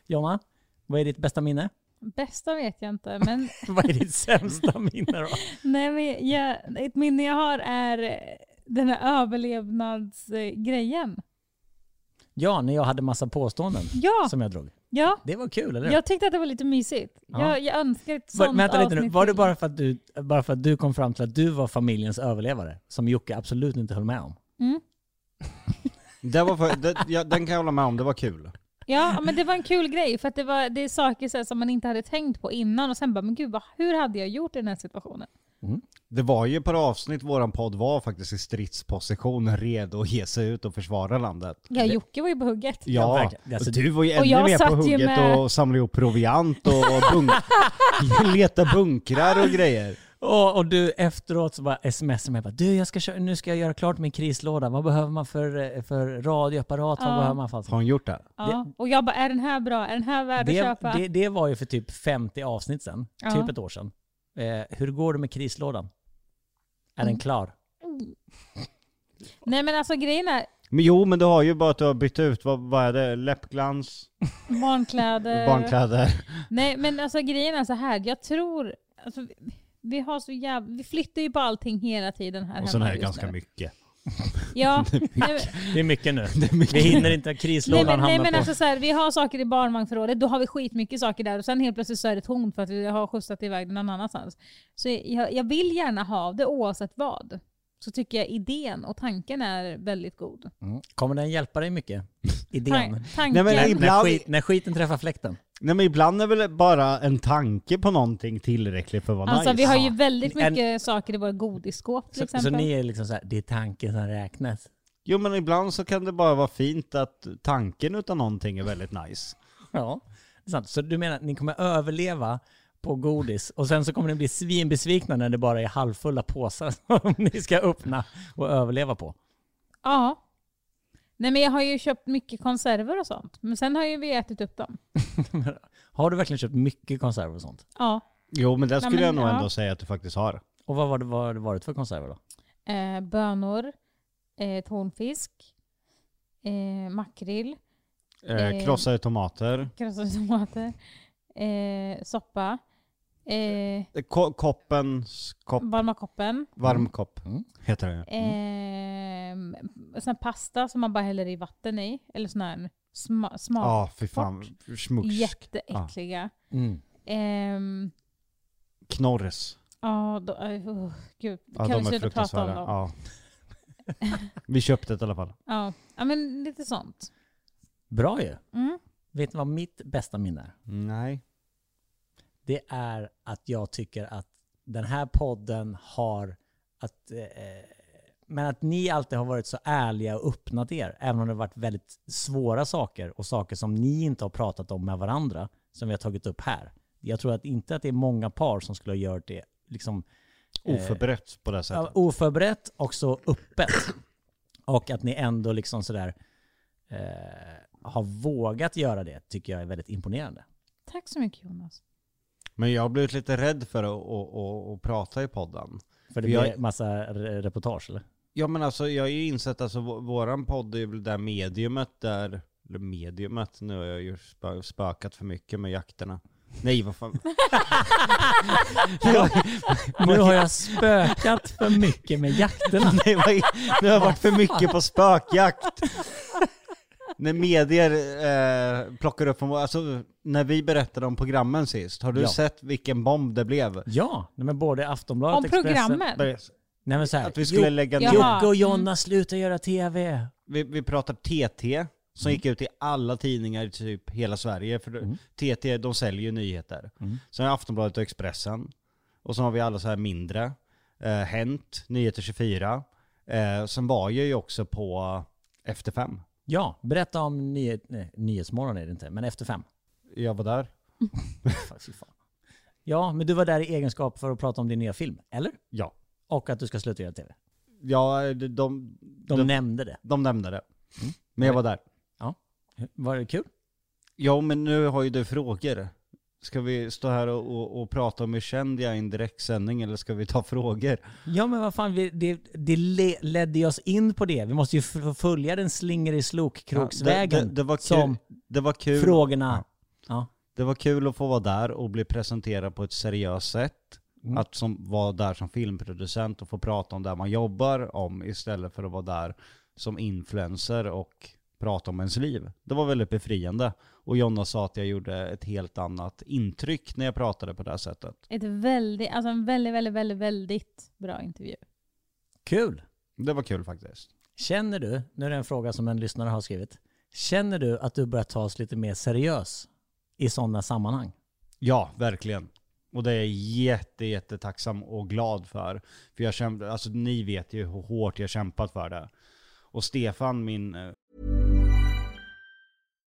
Speaker 3: Jonna, vad är ditt bästa minne?
Speaker 4: Bästa vet jag inte, men
Speaker 3: [laughs]
Speaker 4: [laughs]
Speaker 3: Vad är ditt sämsta minne då?
Speaker 4: Nej, men jag, ett minne jag har är eh, den här överlevnadsgrejen.
Speaker 3: Ja, när jag hade massa påståenden
Speaker 4: Ja,
Speaker 3: som jag drog.
Speaker 4: ja.
Speaker 3: Det var kul, eller hur?
Speaker 4: Jag tyckte att det var lite mysigt.
Speaker 3: Ja.
Speaker 4: Jag, jag önskar ett
Speaker 3: Var-
Speaker 4: sånt
Speaker 3: vänta lite
Speaker 4: avsnitt.
Speaker 3: nu, var det
Speaker 4: till.
Speaker 3: bara för, att du, bara för att du kom fram till att du var familjens överlevare? Som Jocke absolut inte höll med om.
Speaker 2: Det var för, det, ja, den kan jag hålla med om, det var kul.
Speaker 4: Ja, men det var en kul grej för att det, var, det är saker så här, som man inte hade tänkt på innan och sen bara, men gud, vad, hur hade jag gjort i den här situationen?
Speaker 2: Det var ju ett par avsnitt våran podd var faktiskt i stridsposition, redo att ge sig ut och försvara landet.
Speaker 4: Ja, Jocke var ju på hugget.
Speaker 3: Ja,
Speaker 2: Ja,
Speaker 3: verkligen. Alltså-
Speaker 2: och du var ju ännu
Speaker 4: jag
Speaker 2: mer på
Speaker 4: satt ju
Speaker 2: hugget
Speaker 4: med-
Speaker 2: och samlade ihop proviant och
Speaker 4: [laughs]
Speaker 2: bunk leta bunkrar och grejer.
Speaker 3: Och, och du efteråt så bara smsar mig bara, du jag ska köra, nu ska jag göra klart min krislåda, vad behöver man för, eh, för radioapparat, vad
Speaker 4: Ja.
Speaker 3: behöver man för allt
Speaker 2: Har hon gjort det?
Speaker 4: Ja, och jag bara, är den här bra? Är den här värd att
Speaker 3: det,
Speaker 4: köpa?
Speaker 3: det, det var ju för typ 50 avsnitt sedan,
Speaker 4: Ja.
Speaker 3: typ ett år sedan. Eh, hur går det med krislådan? Är
Speaker 4: Mm.
Speaker 3: den klar?
Speaker 4: Nej, men alltså grejen är,
Speaker 2: Men jo, men du har ju bara att du har bytt ut, vad, vad är det, läppglans,
Speaker 4: barnkläder.
Speaker 2: barnkläder?
Speaker 4: Eh, Nej, men alltså grejen är så här. Jag tror... Alltså, vi- vi, har så jävla, vi flyttar ju på allting hela tiden här
Speaker 2: Och sen
Speaker 4: hemma
Speaker 2: är det
Speaker 4: just
Speaker 2: ganska
Speaker 4: nu.
Speaker 2: mycket. [laughs]
Speaker 4: Ja, nej, men-
Speaker 3: Det är mycket nu. [laughs] Vi hinner inte,
Speaker 4: nej,
Speaker 3: krislådan
Speaker 4: men, nej,
Speaker 3: hamnar
Speaker 4: men
Speaker 3: på...
Speaker 4: alltså så här, vi har saker i barnvagnsförrådet, då har vi skitmycket saker där och sen helt plötsligt så är det tomt för att vi har skjutsat iväg den någon annanstans. Så jag, jag vill gärna ha det oavsett vad. Så tycker jag idén och tanken är väldigt god.
Speaker 3: Mm. Kommer den hjälpa dig
Speaker 4: [laughs]
Speaker 3: mycket?
Speaker 4: Tan-
Speaker 3: Idén?
Speaker 4: tanken.
Speaker 2: Nej, men-
Speaker 3: När,
Speaker 2: Ibland-
Speaker 3: skit, när skiten träffar fläkten.
Speaker 2: Nej men ibland är väl bara en tanke på någonting tillräckligt för att vara
Speaker 4: alltså
Speaker 2: nice.
Speaker 4: vi har ju väldigt
Speaker 3: En-
Speaker 4: mycket saker i våra godisskåp till
Speaker 3: Så,
Speaker 4: exempel.
Speaker 3: så ni är liksom så här, det är tanken som räknas.
Speaker 2: Jo men ibland så kan det bara vara fint att tanken utan någonting är väldigt nice.
Speaker 3: Ja, det är sant. Så du menar att ni kommer överleva på godis och sen så kommer ni bli svinbesvikna när det bara är [laughs] halvfulla påsar som ni ska öppna och överleva på.
Speaker 4: Ja. Nej men jag har ju köpt mycket konserver och sånt. Men sen har ju vi ätit upp dem.
Speaker 3: [laughs] Har du verkligen köpt mycket konserver och sånt?
Speaker 4: Ja.
Speaker 2: Jo men det skulle
Speaker 4: men,
Speaker 2: jag nog
Speaker 4: ja.
Speaker 2: ändå säga att du faktiskt har.
Speaker 3: Och vad var det, vad har det varit för konserver då?
Speaker 4: Eh, bönor, eh, tonfisk, eh, makrill, Eh.
Speaker 2: Eh, krossade tomater.
Speaker 4: krossade [laughs] tomater, eh, soppa, eh,
Speaker 2: Eh, Ko- koppens kopp,
Speaker 4: varma koppen,
Speaker 2: varmkopp
Speaker 3: Mm.
Speaker 2: heter
Speaker 4: Eh,
Speaker 2: det.
Speaker 4: ehm, sån här pasta som man bara häller i vatten i. Eller sån här sma- smak.
Speaker 2: Ja, fy fan. Smuks.
Speaker 4: Jätteäckliga.
Speaker 3: Mm.
Speaker 4: Ehm,
Speaker 2: Knorres.
Speaker 4: Ja, då, eh, oh, gud.
Speaker 2: Ja,
Speaker 4: kan vi
Speaker 2: de är
Speaker 4: sluta prata om
Speaker 2: fruktansvärda.
Speaker 4: dem? Ja. [laughs]
Speaker 2: Ja. Vi köpte det i alla fall.
Speaker 4: Ja. men lite sånt.
Speaker 3: Bra ju!
Speaker 4: Mm.
Speaker 3: Vet ni vad mitt bästa minne är?
Speaker 2: Nej.
Speaker 3: Det är att jag tycker att den här podden har att... Eh, men att ni alltid har varit så ärliga och öppnat er. Även om det har varit väldigt svåra saker och saker som ni inte har pratat om med varandra. Som vi har tagit upp här. Jag tror att inte att det är många par som skulle ha gjort det liksom
Speaker 2: Oförberett på det
Speaker 3: Ja,
Speaker 2: sättet.
Speaker 3: oförberett och så öppet. Och att ni ändå liksom sådär eh, har vågat göra det tycker jag är väldigt imponerande.
Speaker 4: Tack så mycket Jonas.
Speaker 2: Men jag har blivit lite rädd för att, att, att, att prata i podden.
Speaker 3: För det
Speaker 2: Vi har-
Speaker 3: blir massa re- reportage eller?
Speaker 2: Ja men alltså jag har ju insett alltså vå- våran podd är väl det där mediumet där, eller mediumet, nu har jag ju spö, spökat för mycket med jakterna. Nej vad fan.
Speaker 3: [laughs] Nu har jag spökat för mycket med jakterna.
Speaker 2: Nej, vad, är- nu har jag varit för mycket på spökjakt. När medier eh, plockar upp från vår- alltså när vi berättade om programmen sist, har du
Speaker 3: Ja.
Speaker 2: sett vilken bomb det blev?
Speaker 3: Ja, nej, men både Aftonbladet
Speaker 4: Om programmen.
Speaker 3: Nej men såhär,
Speaker 2: Att vi skulle
Speaker 3: Jo-
Speaker 2: lägga
Speaker 4: Jaha. Mm.
Speaker 2: ner
Speaker 3: Jocke och Jonna slutar göra TV.
Speaker 2: vi, vi pratar TT, som gick ut i alla tidningar i typ hela Sverige. För
Speaker 3: Mm.
Speaker 2: TT, de säljer ju nyheter. Sen har Aftonbladet och Expressen. Och så har vi alla så här mindre. Eh, Hänt, Nyheter 24. Eh, sen var jag ju också på Efter fem.
Speaker 3: Ja, berätta om nyhet, nej, Nyhetsmorgon är det inte, men Efter fem.
Speaker 2: Jag var där.
Speaker 3: Fan, fy fan. Ja, men du var där i egenskap för att prata om din nya film, eller?
Speaker 2: Ja.
Speaker 3: Och att du ska sluta göra TV.
Speaker 2: Ja, de, de,
Speaker 3: De
Speaker 2: de,
Speaker 3: nämnde det.
Speaker 2: de nämnde det. Men jag var där.
Speaker 3: Var det kul?
Speaker 2: Ja, men nu har ju du frågor. Ska vi stå här och, och, och prata om hur känd jag är i en direktsändning eller ska vi ta frågor?
Speaker 3: Ja men vad fan, vi, det, det le, ledde oss in på det. Vi måste ju f- följa den slinger i slokkroksvägen
Speaker 2: Ja, det, det, det var kul,
Speaker 3: som
Speaker 2: det var kul.
Speaker 3: frågorna... Ja.
Speaker 2: Det var kul att få vara där och bli presenterad på ett seriöst sätt.
Speaker 3: Mm.
Speaker 2: Att som, vara där som filmproducent och få prata om det man jobbar om istället för att vara där som influencer och prata om ens liv. Det var väldigt befriande. Och Jonna sa att jag gjorde ett helt annat intryck när jag pratade på det här sättet.
Speaker 4: Ett väldigt, alltså en väldigt, väldigt, väldigt, väldigt bra intervju.
Speaker 3: Kul!
Speaker 2: Det var kul faktiskt.
Speaker 3: Känner du, nu är det en fråga som en lyssnare har skrivit. Känner du att du börjar tas lite mer seriös i sådana sammanhang?
Speaker 2: Ja, verkligen. Och det är jag jätte, jättetacksam och glad för. För jag kämpade, alltså ni vet ju hur hårt jag kämpat för det. Och Stefan, min eh,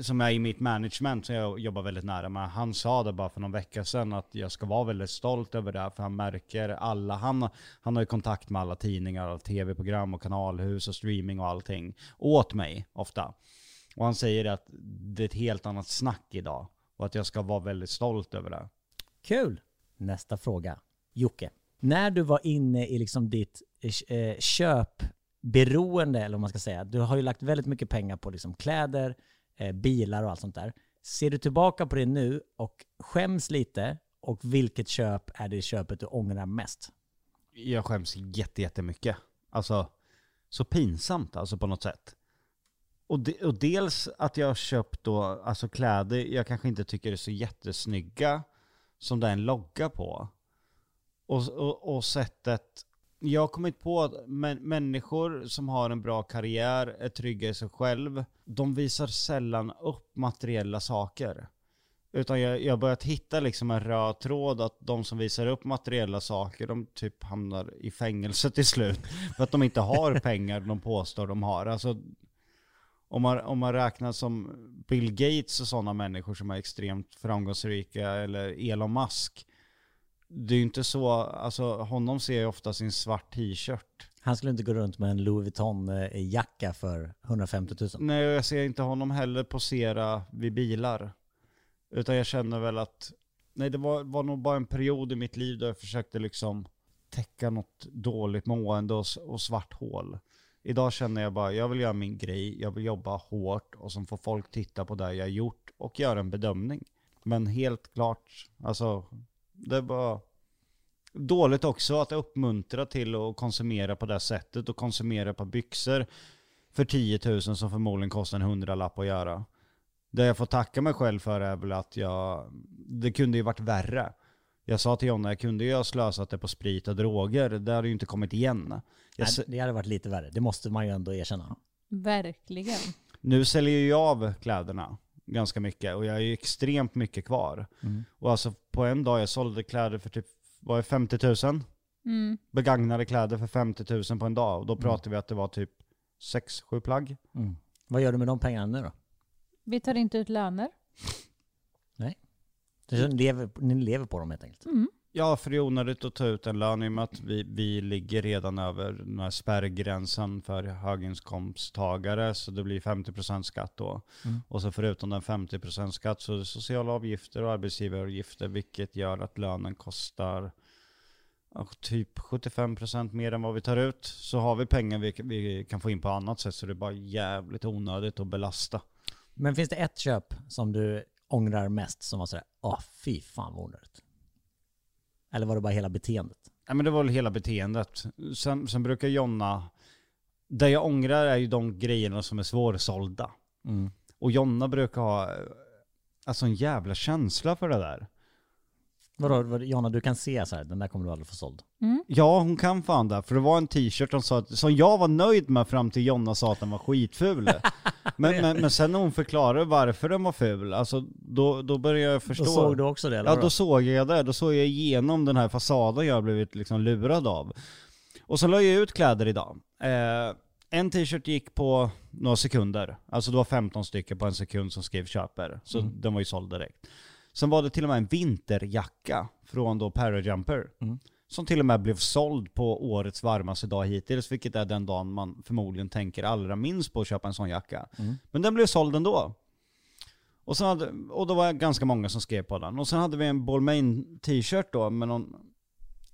Speaker 2: som är i mitt management som jag jobbar väldigt nära med, han sa det bara för någon vecka sedan att jag ska vara väldigt stolt över det här, för han märker alla, han, han har ju kontakt med alla tidningar, alla tv-program och kanalhus och streaming och allting åt mig ofta. Och han säger att det är ett helt annat snack idag och att jag ska vara väldigt stolt över det.
Speaker 3: Kul! Nästa fråga. Jocke, när du var inne i liksom ditt eh, köpberoende, eller vad man ska säga, du har ju lagt väldigt mycket pengar på liksom kläder, eh, bilar och allt sånt där. Ser du tillbaka på det nu och skäms lite och vilket köp är det köpet du ångrar mest?
Speaker 2: Jag skäms jätte- jättemycket. Alltså, så pinsamt alltså på något sätt. Och, de, och dels att jag har köpt då, alltså kläder jag kanske inte tycker är så jättesnygga som det är en logga på. Och, och, och sättet, jag har kommit på att mä- människor som har en bra karriär, är trygga i sig själv, de visar sällan upp materiella saker. Utan jag, jag har börjat hitta liksom en röd tråd att de som visar upp materiella saker, de typ hamnar i fängelse till slut. [laughs] För att de inte har pengar de påstår de har. Alltså, om man, om man räknar som Bill Gates och sådana människor som är extremt framgångsrika, eller Elon Musk. Det är ju inte så, alltså honom ser jag ofta sin svart t-shirt.
Speaker 3: Han skulle inte gå runt med en Louis Vuitton-jacka för 150 000.
Speaker 2: Nej, jag ser inte honom heller posera vid bilar. Utan jag känner väl att, nej det var, var nog bara en period i mitt liv där jag försökte liksom täcka något dåligt mående och, s- och svart hål. Idag känner jag bara, jag vill göra min grej, jag vill jobba hårt och som får folk titta på det jag har gjort och göra en bedömning. Men helt klart, alltså det var dåligt också att uppmuntra till att konsumera på det sättet och konsumera på byxor för 10 000 som förmodligen kostar en hundralapp att göra. Det jag får tacka mig själv för är väl att jag, det kunde ju varit värre. Jag sa till Jonna, jag kunde ju ha slösat det på sprit och droger, det hade ju inte kommit igen. Jag,
Speaker 3: Nej,
Speaker 2: s-
Speaker 3: Det hade varit lite värre, det måste man ju ändå erkänna.
Speaker 4: Verkligen.
Speaker 2: Nu säljer ju jag av kläderna ganska mycket och jag har ju extremt mycket kvar. Och alltså på en dag jag sålde kläder för typ, var det 50 000?
Speaker 4: Mm.
Speaker 2: Begagnade kläder för 50 000 på en dag. Och då pratade vi att det var typ 6-7 plagg.
Speaker 3: Vad gör du med de pengarna nu då?
Speaker 4: Vi tar inte ut löner.
Speaker 3: Du lever, ni lever på dem helt enkelt.
Speaker 2: Ja, för det är onödigt att ta ut en lön i och med att vi, vi ligger redan över den här spärrgränsen för höginkomsttagare, så det blir 50% skatt då. Och så förutom den 50% skatt så är det sociala avgifter och arbetsgivaravgifter, vilket gör att lönen kostar ja, typ 75% mer än vad vi tar ut. Så har vi pengar vi, vi kan få in på annat sätt, så det är bara jävligt onödigt att belasta.
Speaker 3: Men finns det ett köp som du ångrar mest som var sådär, åh fy fan vad onödigt? Eller var det bara hela beteendet?
Speaker 2: Ja, men det var väl hela beteendet. Sen, sen brukar Jonna... Det jag ångrar är ju de grejerna som är svårsålda.
Speaker 3: Mm.
Speaker 2: Och Jonna brukar ha eh, alltså en jävla känsla för det där.
Speaker 3: Vadå, vad, Jonna du kan se så här, den där kommer du aldrig få såld.
Speaker 2: Ja, hon kan fan det. För det var en t-shirt hon sa att, som jag var nöjd med fram till Jonna sa att den var
Speaker 3: [laughs]
Speaker 2: skitful. Men, men, men sen när hon förklarade varför den var ful, alltså, då, då började jag förstå.
Speaker 3: Då såg du också det? Eller
Speaker 2: Ja,
Speaker 3: vadå?
Speaker 2: då såg jag det. Då såg jag igenom den här fasaden jag har blivit liksom lurad av. Och så la jag ut kläder idag. Eh, en t-shirt gick på några sekunder. Alltså det var 15 stycken på en sekund som skrev köper. Så den var ju såld direkt. Sen var det till och med en vinterjacka från då Parajumper. Som till och med blev såld på årets varmaste dag hittills, vilket är den dagen man förmodligen tänker allra minst på att köpa en sån jacka. Men den blev såld ändå. Och, sen hade, och då var det ganska många som skrev på den. Och sen hade vi en Balmain t-shirt då med någon [laughs]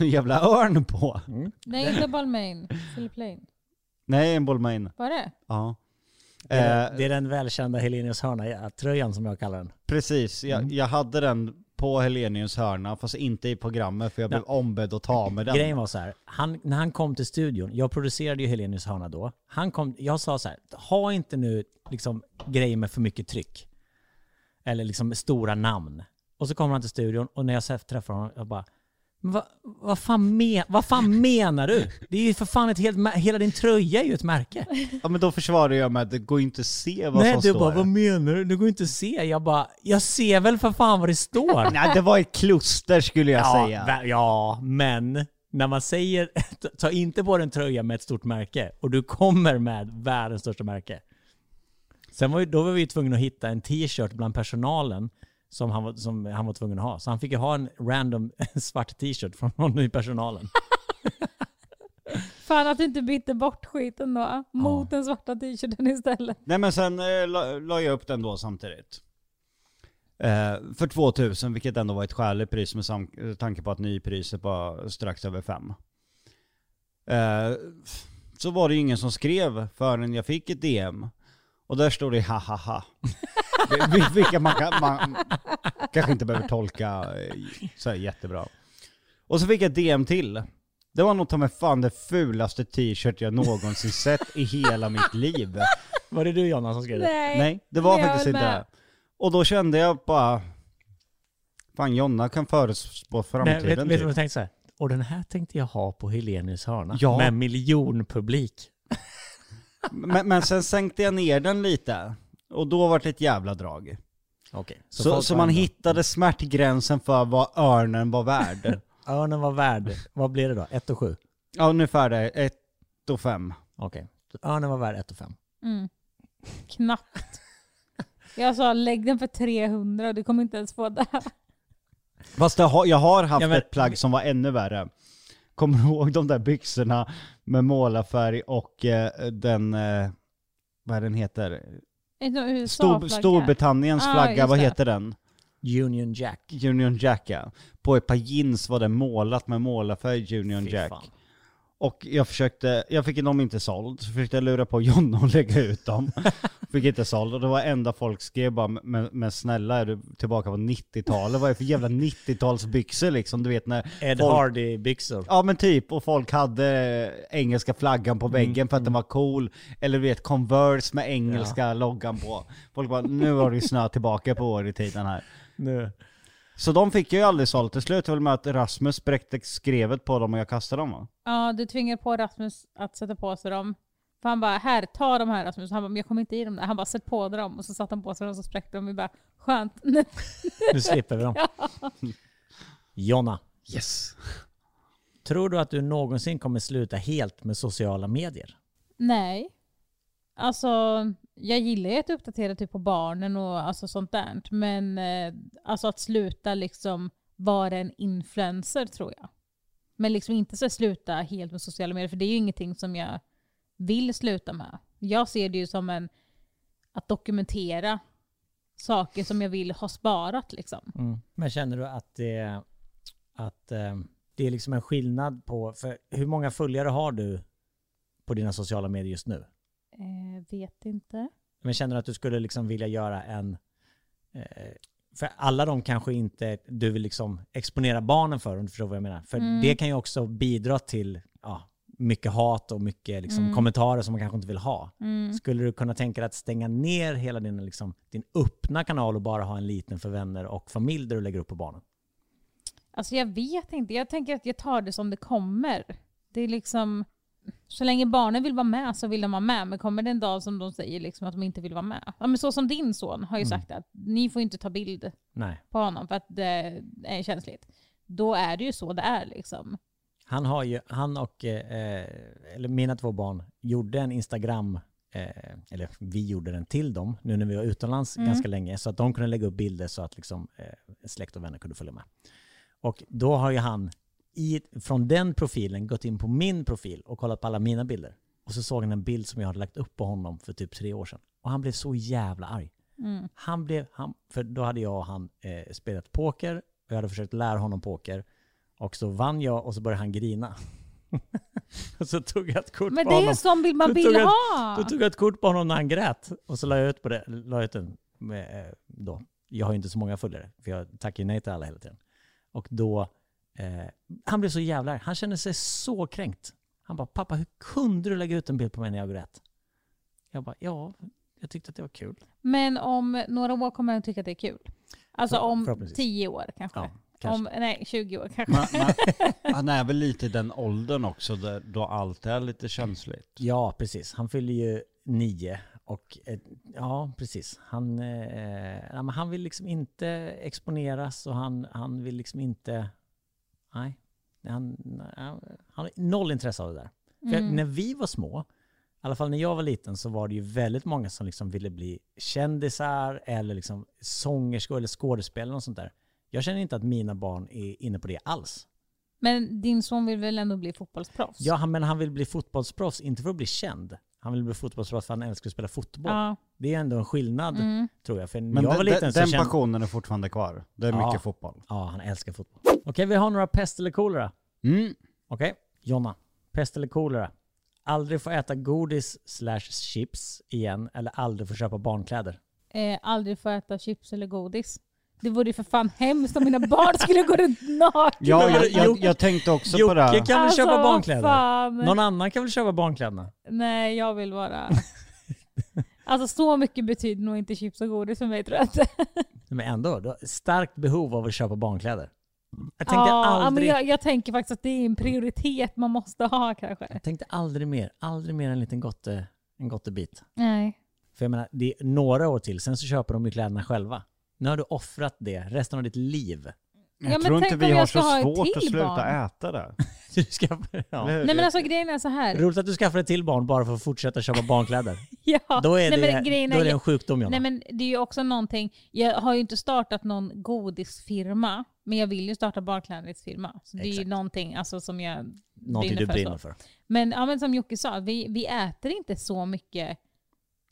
Speaker 2: en jävla örn på.
Speaker 4: Nej, inte Balmain. Philip Lane.
Speaker 2: Nej, en Balmain.
Speaker 4: Var det?
Speaker 2: Ja.
Speaker 3: det, är,
Speaker 2: Eh,
Speaker 3: den- det är den välkända Helenius hörna-tröjan som jag kallar den.
Speaker 2: Precis, jag,
Speaker 3: Mm.
Speaker 2: jag hade den på Helenius hörna fast inte i programmet för jag blev ombedd att ta med den.
Speaker 3: Grejen var så här, han, när han kom till studion, jag producerade ju Helenius hörna då. Han kom, jag sa så här, ha inte nu liksom grejer med för mycket tryck. Eller liksom stora namn. Och så kommer han till studion och när jag så här träffar honom, jag bara, men vad, vad, fan men, vad fan menar du? Det är ju för fan ett helt, mä- hela din tröja är ju ett märke.
Speaker 2: Ja men då försvarade jag med att det går ju inte att se vad
Speaker 3: Nej,
Speaker 2: som
Speaker 3: du
Speaker 2: står.
Speaker 3: bara, vad menar du? Det går inte att se. Jag bara, jag ser väl för fan vad det står.
Speaker 2: Nej det var ett kluster skulle jag
Speaker 3: ja,
Speaker 2: säga.
Speaker 3: vä- ja, men när man säger [laughs] ta- ta inte på dig en tröja med ett stort märke och du kommer med världens största märke. Sen var ju, då var vi ju tvungna att hitta en t-shirt bland personalen som han, var, som han var tvungen att ha. Så han fick ju ha en random [laughs] svart t-shirt från någon i personalen. [laughs]
Speaker 4: Fan att du inte bytte bort skiten då. Mot den svarta t-shirten istället.
Speaker 2: Nej men sen eh, la, la jag upp den då samtidigt. Eh, för 2000 vilket ändå var ett skäligt pris med sam- eh, tanke på att nypriset var strax över 5. Eh, f- så var det ju ingen som skrev förrän jag fick ett DM. Och där stod det hahaha. Vil- Vilka man, kan, man kanske inte behöver tolka eh, så här jättebra. Och så fick jag ett DM till. Det var nog ta mig fan det fulaste t-shirt jag någonsin sett i hela mitt liv.
Speaker 3: Var det du Jonna som skrev det?
Speaker 4: Nej.
Speaker 2: Nej, det var
Speaker 4: jag
Speaker 2: faktiskt
Speaker 4: är
Speaker 2: inte
Speaker 4: med.
Speaker 2: det. Och då kände jag bara, fan Jonna kan förutspå
Speaker 3: Nej,
Speaker 2: framtiden
Speaker 3: vet, vet du
Speaker 2: typ.
Speaker 3: vad jag tänkte så här? Och den här tänkte jag ha på Helenius hörna.
Speaker 2: Ja.
Speaker 3: Med miljonpublik.
Speaker 2: men, men sen sänkte jag ner den lite. Och då var det ett jävla drag.
Speaker 3: Okej.
Speaker 2: Så, så,
Speaker 3: folk var
Speaker 2: man
Speaker 3: ändå-
Speaker 2: hittade smärtgränsen för vad örnen var
Speaker 3: [laughs]
Speaker 2: värd.
Speaker 3: Örnen var värd, vad blir det då? 1 och 7?
Speaker 2: ja, ungefär det. Ett och fem.
Speaker 3: Okej. Örnen var värd 1 och 5.
Speaker 4: Mm. Knappt. Jag sa lägg den för 300 och du kommer inte ens få det.
Speaker 2: Fast jag har, jag har haft
Speaker 3: Ja, men-
Speaker 2: ett plagg som var ännu värre. Kommer du ihåg de där byxorna med målarfärg och eh, den, eh, vad är den heter? Stor,
Speaker 4: Stor,
Speaker 2: Storbritanniens
Speaker 4: Ah,
Speaker 2: flagga,
Speaker 4: just
Speaker 2: vad
Speaker 4: det.
Speaker 2: heter den?
Speaker 3: Union Jack.
Speaker 2: Union Jacka. På ett par jeans var det målat med målarfärg Union
Speaker 3: Fy
Speaker 2: Jack.
Speaker 3: fan.
Speaker 2: Och jag försökte, jag fick dem inte såld, så försökte jag lura på Jonna att [laughs] lägga ut dem. Fick inte såld och det var enda folk skrev bara, men, men snälla är du tillbaka på 90-talet? Vad är det för jävla 90-talsbyxor liksom? Du vet när...
Speaker 3: Ed
Speaker 2: folk-
Speaker 3: Hardy-byxor.
Speaker 2: Ja men typ, och folk hade eh, engelska flaggan på väggen
Speaker 3: Mm,
Speaker 2: för att den var cool. Eller du vet Converse med engelska loggan på. Folk bara, nu har du snöat tillbaka på år i tiden här.
Speaker 3: Nu.
Speaker 2: Så de fick jag ju aldrig sålt. Till slut var det med att Rasmus spräckte skrevet på dem och jag kastade dem va?
Speaker 4: Ja, du tvingar på Rasmus att sätta på sig dem. För han bara, här, ta de här Rasmus. Han bara, men jag kommer inte i dem där. Han bara, sätt på dem. Och så satte han på sig dem och så spräckte de. Vi bara, skönt. [laughs]
Speaker 3: nu slipper [laughs] vi dem. Jonna. Yes. Tror du att du någonsin kommer sluta helt med sociala medier?
Speaker 4: Nej. Alltså, jag gillar ju att uppdatera typ på barnen och alltså sånt där. Men eh, alltså att sluta liksom vara en influencer tror jag. Men liksom inte så här sluta helt med sociala medier, för det är ju ingenting som jag vill sluta med. Jag ser det ju som en, att dokumentera saker som jag vill ha sparat liksom.
Speaker 3: Men känner du att det, att eh, det är liksom en skillnad på... För hur många följare har du på dina sociala medier just nu?
Speaker 4: Eh, vet inte.
Speaker 3: Men känner du att du skulle liksom vilja göra en... Eh, för alla de kanske inte du vill liksom exponera barnen för, om du förstår vad jag menar. För
Speaker 4: Mm.
Speaker 3: det kan ju också bidra till ja, mycket hat och mycket liksom,
Speaker 4: Mm.
Speaker 3: kommentarer som man kanske inte vill ha.
Speaker 4: Mm.
Speaker 3: Skulle du kunna tänka dig att stänga ner hela din, liksom, din öppna kanal och bara ha en liten för vänner och familj där du lägger upp på barnen?
Speaker 4: Alltså jag vet inte. Jag tänker att jag tar det som det kommer. Det är liksom, så länge barnen vill vara med så vill de vara med. Men kommer det en dag som de säger liksom att de inte vill vara med. Ja, men så som din son har ju
Speaker 3: Mm.
Speaker 4: sagt att ni får inte ta bild
Speaker 3: Nej.
Speaker 4: på honom för att det är känsligt. Då är det ju så det är liksom.
Speaker 3: Han, har ju, han och eh, eller mina två barn gjorde en Instagram, eh, eller vi gjorde den till dem nu när vi var utomlands
Speaker 4: Mm.
Speaker 3: ganska länge, så att de kunde lägga upp bilder så att liksom, eh, släkt och vänner kunde följa med. Och då har ju han i, från den profilen gått in på min profil och kollat på alla mina bilder. Och så såg han en bild som jag hade lagt upp på honom för typ tre år sedan. Och han blev så jävla arg.
Speaker 4: Mm.
Speaker 3: Han blev, han, för då hade jag och han eh, spelat poker och jag hade försökt lära honom poker. Och så vann jag och så började han grina. [laughs] och så tog jag ett kort
Speaker 4: Men
Speaker 3: på
Speaker 4: det är
Speaker 3: honom.
Speaker 4: en sån bild man
Speaker 3: Då
Speaker 4: vill
Speaker 3: tog jag-
Speaker 4: ha!
Speaker 3: Då tog jag ett kort på honom när han grät. Och så la jag ut på det, la jag ut den med, eh, då. Jag har ju inte så många följare, för jag tackar ju nej till alla hela tiden. Och då, eh, han blev så jävla arg. Han kände sig så kränkt. Han bara, pappa hur kunde du lägga ut en bild på mig när jag grät? Jag bara, ja, jag tyckte att det var kul.
Speaker 4: Men om några år kommer han tycka att det är kul. Alltså
Speaker 3: För-
Speaker 4: om
Speaker 3: förhoppningsvis.
Speaker 4: tio år kanske.
Speaker 3: Ja, kanske.
Speaker 4: Om, nej, 20 år kanske.
Speaker 2: Man, man, [laughs] han är väl lite i den åldern också där, då allt är lite känsligt.
Speaker 3: Ja, precis. Han fyller ju nio. Och eh, ja, precis. Han, eh, ja, men han vill liksom inte exponeras och han, han vill liksom inte... Nej. Han, han har noll intresse av det där. För
Speaker 4: Mm.
Speaker 3: när vi var små, i alla fall när jag var liten, så var det ju väldigt många som liksom ville bli kändisar eller liksom sångerskor eller skådespelare och sånt där. Jag känner inte att mina barn är inne på det alls.
Speaker 4: Men din son vill väl ändå bli fotbollsproffs?
Speaker 3: Ja, han, men han vill bli fotbollsproffs, inte för att bli känd. Han vill bli fotbollsproffs för han älskar att spela fotboll.
Speaker 4: Ja.
Speaker 3: Det är ändå en skillnad,
Speaker 4: Mm.
Speaker 3: tror jag. För när
Speaker 2: Men
Speaker 3: jag var
Speaker 2: den-
Speaker 3: liten
Speaker 2: den,
Speaker 3: så
Speaker 2: den
Speaker 3: kände...
Speaker 2: passionen är fortfarande kvar. Det är
Speaker 3: Ja.
Speaker 2: mycket fotboll.
Speaker 3: Ja, han älskar fotboll. Okej, vi har några pest eller kolera.
Speaker 2: Mm.
Speaker 3: Okej, Jonna. Pest eller kolera. Aldrig få äta godis slash chips igen eller aldrig få köpa barnkläder.
Speaker 4: eh, aldrig får äta chips eller godis. Det vore ju för fan hemskt om mina barn skulle gå runt nakna.
Speaker 2: Ja, jag, jag, jag tänkte också på det.
Speaker 3: Jocke
Speaker 2: här.
Speaker 3: kan väl
Speaker 4: Alltså,
Speaker 3: köpa
Speaker 4: vad
Speaker 3: barnkläder?
Speaker 4: fan.
Speaker 3: Någon annan kan väl köpa barnkläderna?
Speaker 4: Nej, jag
Speaker 3: [laughs]
Speaker 4: vill vara... Alltså så mycket betyder nog inte chips och godis för mig tror jag inte.
Speaker 3: Men ändå, du har ett starkt behov av att köpa barnkläder. Jag tänkte,
Speaker 4: Ja, men
Speaker 3: aldrig, jag...
Speaker 4: jag, jag tänker faktiskt att det är en prioritet man måste ha kanske.
Speaker 3: tänkte aldrig mer, aldrig mer en liten gotte, en gottebit.
Speaker 4: Nej.
Speaker 3: För jag menar, det är några år till, sen så köper de ju kläderna själva. Nu har du offrat det resten av ditt liv. [laughs]
Speaker 4: Ja,
Speaker 2: Jag
Speaker 4: men
Speaker 2: tror inte
Speaker 4: tänk
Speaker 2: vi
Speaker 4: om
Speaker 2: har
Speaker 4: jag
Speaker 2: så
Speaker 4: ska ha ett
Speaker 2: svårt
Speaker 4: till
Speaker 2: att sluta
Speaker 4: barn.
Speaker 2: äta det.
Speaker 3: Du ska, ja.
Speaker 2: Eller hur?
Speaker 4: Nej men alltså grejen är så här.
Speaker 3: Roligt att du skaffar ett till barn bara för att fortsätta köpa barnkläder.
Speaker 4: [laughs] Ja.
Speaker 3: Då är,
Speaker 4: Nej,
Speaker 3: det,
Speaker 4: men grejen
Speaker 3: då är det
Speaker 4: jag-
Speaker 3: en sjukdom Jonna.
Speaker 4: Nej men det är ju också någonting, jag har ju inte startat någon godisfirma, men jag vill ju starta barnklädesfirma. Så det är ju
Speaker 3: Exakt.
Speaker 4: någonting alltså, som jag
Speaker 3: Någonting du brinner för.
Speaker 4: Men, ja, men som Jocke sa, vi, vi äter inte så mycket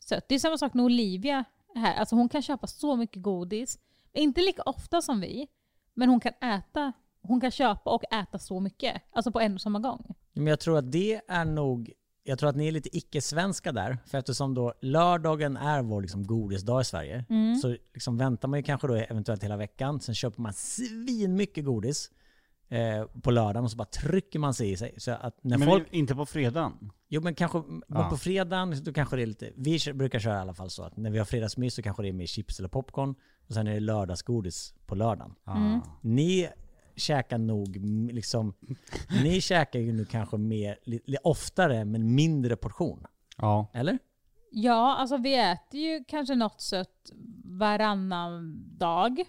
Speaker 4: sött. Det är samma sak med Olivia här. Alltså hon kan köpa så mycket godis. Inte lika ofta som vi, men hon kan äta. Hon kan köpa och äta så mycket. Alltså på en och samma gång.
Speaker 3: Men jag tror att det är nog, jag tror att ni är lite icke-svenska där. För eftersom då lördagen är vår liksom godisdag i Sverige,
Speaker 4: Mm.
Speaker 3: så liksom väntar man ju kanske då eventuellt hela veckan. Sen köper man svinmycket godis eh, på lördagen och så bara trycker man sig i sig. Så att när
Speaker 2: Men
Speaker 3: folk,
Speaker 2: inte på fredagen.
Speaker 3: jo men kanske
Speaker 2: Ja.
Speaker 3: på fredagen, då kanske det är lite, vi kö- brukar köra i alla fall så att när vi har fredagsmys så kanske det är mer chips eller popcorn. Och sen är det lördagsgodis på lördagen.
Speaker 2: Ah.
Speaker 3: Ni käkar nog m-
Speaker 2: [laughs]
Speaker 3: liksom, ni käkar ju nu kanske mer, li- li- oftare men mindre portion.
Speaker 2: Ja.
Speaker 3: Eller?
Speaker 4: Ja, alltså vi äter ju kanske något sött varannan dag.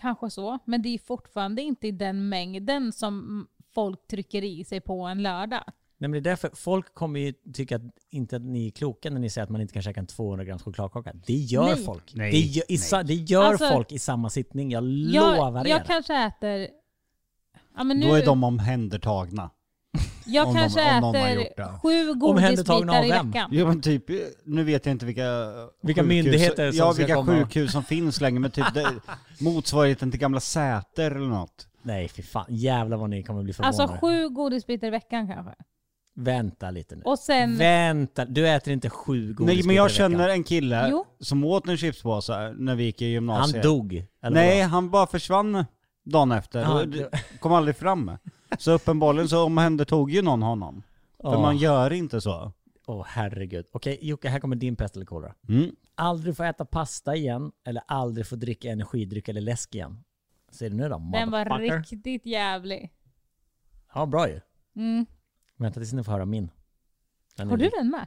Speaker 4: Kanske så. Men det är fortfarande inte i den mängden som folk trycker i sig på en lördag.
Speaker 3: Nej men det är därför, folk kommer ju tycka att, inte att ni är kloka när ni säger att man inte kan käka en 200 grams chokladkaka. Det gör
Speaker 4: Nej.
Speaker 3: folk.
Speaker 2: Nej,
Speaker 3: Det gör, i,
Speaker 2: nej.
Speaker 3: sa- det gör
Speaker 4: Alltså-
Speaker 3: folk i samma sittning, jag lovar
Speaker 4: Jag,
Speaker 3: er.
Speaker 4: jag kanske äter... Ja, men nu,
Speaker 2: Då är de omhändertagna.
Speaker 4: jag
Speaker 2: om de-
Speaker 4: kanske
Speaker 2: om de har gjort
Speaker 4: äter
Speaker 2: det.
Speaker 4: sju
Speaker 3: Omhändertagna av
Speaker 4: godisbitar i
Speaker 3: vem?
Speaker 4: veckan.
Speaker 2: Ja men typ, nu vet jag inte vilka eh,
Speaker 3: Vilka myndigheter som
Speaker 2: ja,
Speaker 3: ska
Speaker 2: vilka
Speaker 3: komma.
Speaker 2: sjukhus som finns längre, men typ
Speaker 3: [laughs]
Speaker 2: det, motsvarigheten till gamla Säter eller något.
Speaker 3: Nej fy fan, jävlar vad ni kommer bli förvånade.
Speaker 4: Alltså sju godisbitar i veckan kanske.
Speaker 3: Vänta lite nu.
Speaker 4: Och sen...
Speaker 3: Vänta, du äter inte sju godisbitar
Speaker 2: Nej men
Speaker 3: i
Speaker 2: jag
Speaker 3: veckan.
Speaker 2: känner en kille
Speaker 4: Jo.
Speaker 2: som åt en chipspåse när vi gick i
Speaker 3: Han
Speaker 2: gymnasiet.
Speaker 3: dog. Eller
Speaker 2: Nej,
Speaker 3: vadå? Ah,
Speaker 2: han bara försvann dagen efter
Speaker 3: Ja,
Speaker 2: och
Speaker 3: det-
Speaker 2: kom aldrig fram. Så uppenbarligen så omhändertog ju någon honom. För
Speaker 3: Ja.
Speaker 2: man gör inte så.
Speaker 3: Åh herregud. Okej Jocke, här kommer din pest eller kolera.
Speaker 2: Mm.
Speaker 3: Aldrig få äta pasta igen eller aldrig få dricka energidryck eller läsk igen. Ser du nu då?
Speaker 4: Den var
Speaker 3: motherfucker?
Speaker 4: riktigt jävlig.
Speaker 3: Ja, bra ju.
Speaker 4: Mm.
Speaker 3: Vänta tills ni får höra min. Den är
Speaker 4: Har du
Speaker 3: lik.
Speaker 4: den med?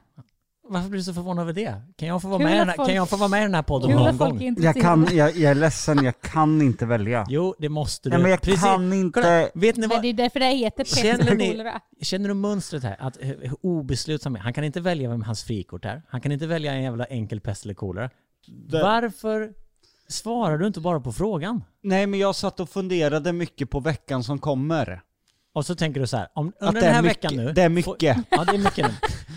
Speaker 3: Varför blir du så förvånad över det? Kan jag få vara,
Speaker 4: Kul
Speaker 3: med, i
Speaker 4: att
Speaker 3: den här,
Speaker 4: folk-
Speaker 3: kan jag få vara med i den här podden
Speaker 4: Kul
Speaker 3: någon
Speaker 4: att folk
Speaker 3: gång?
Speaker 4: är intresserade.
Speaker 2: jag, jag är ledsen, jag kan inte välja.
Speaker 3: Jo, det måste du.
Speaker 2: Nej, men jag
Speaker 3: Precis.
Speaker 2: kan inte-
Speaker 3: Kolla, vet ni
Speaker 4: Men
Speaker 3: vad?
Speaker 4: det är därför det heter pest
Speaker 3: Känner
Speaker 4: och
Speaker 3: ni,
Speaker 4: kolera.
Speaker 3: känner du mönstret här? Att eh, hur hur obeslutsam är. Han kan inte välja vem hans frikort är. Han kan inte välja en jävla enkel pest eller kolera. Varför svarar du inte bara på frågan?
Speaker 2: Nej men jag satt och funderade mycket på veckan som kommer.
Speaker 3: Och så tänker du så här, om,
Speaker 2: Att
Speaker 3: under
Speaker 2: det
Speaker 3: den
Speaker 2: är
Speaker 3: här
Speaker 2: mycket-
Speaker 3: veckan nu...
Speaker 2: det är mycket.
Speaker 3: Får, ja, det är mycket nu.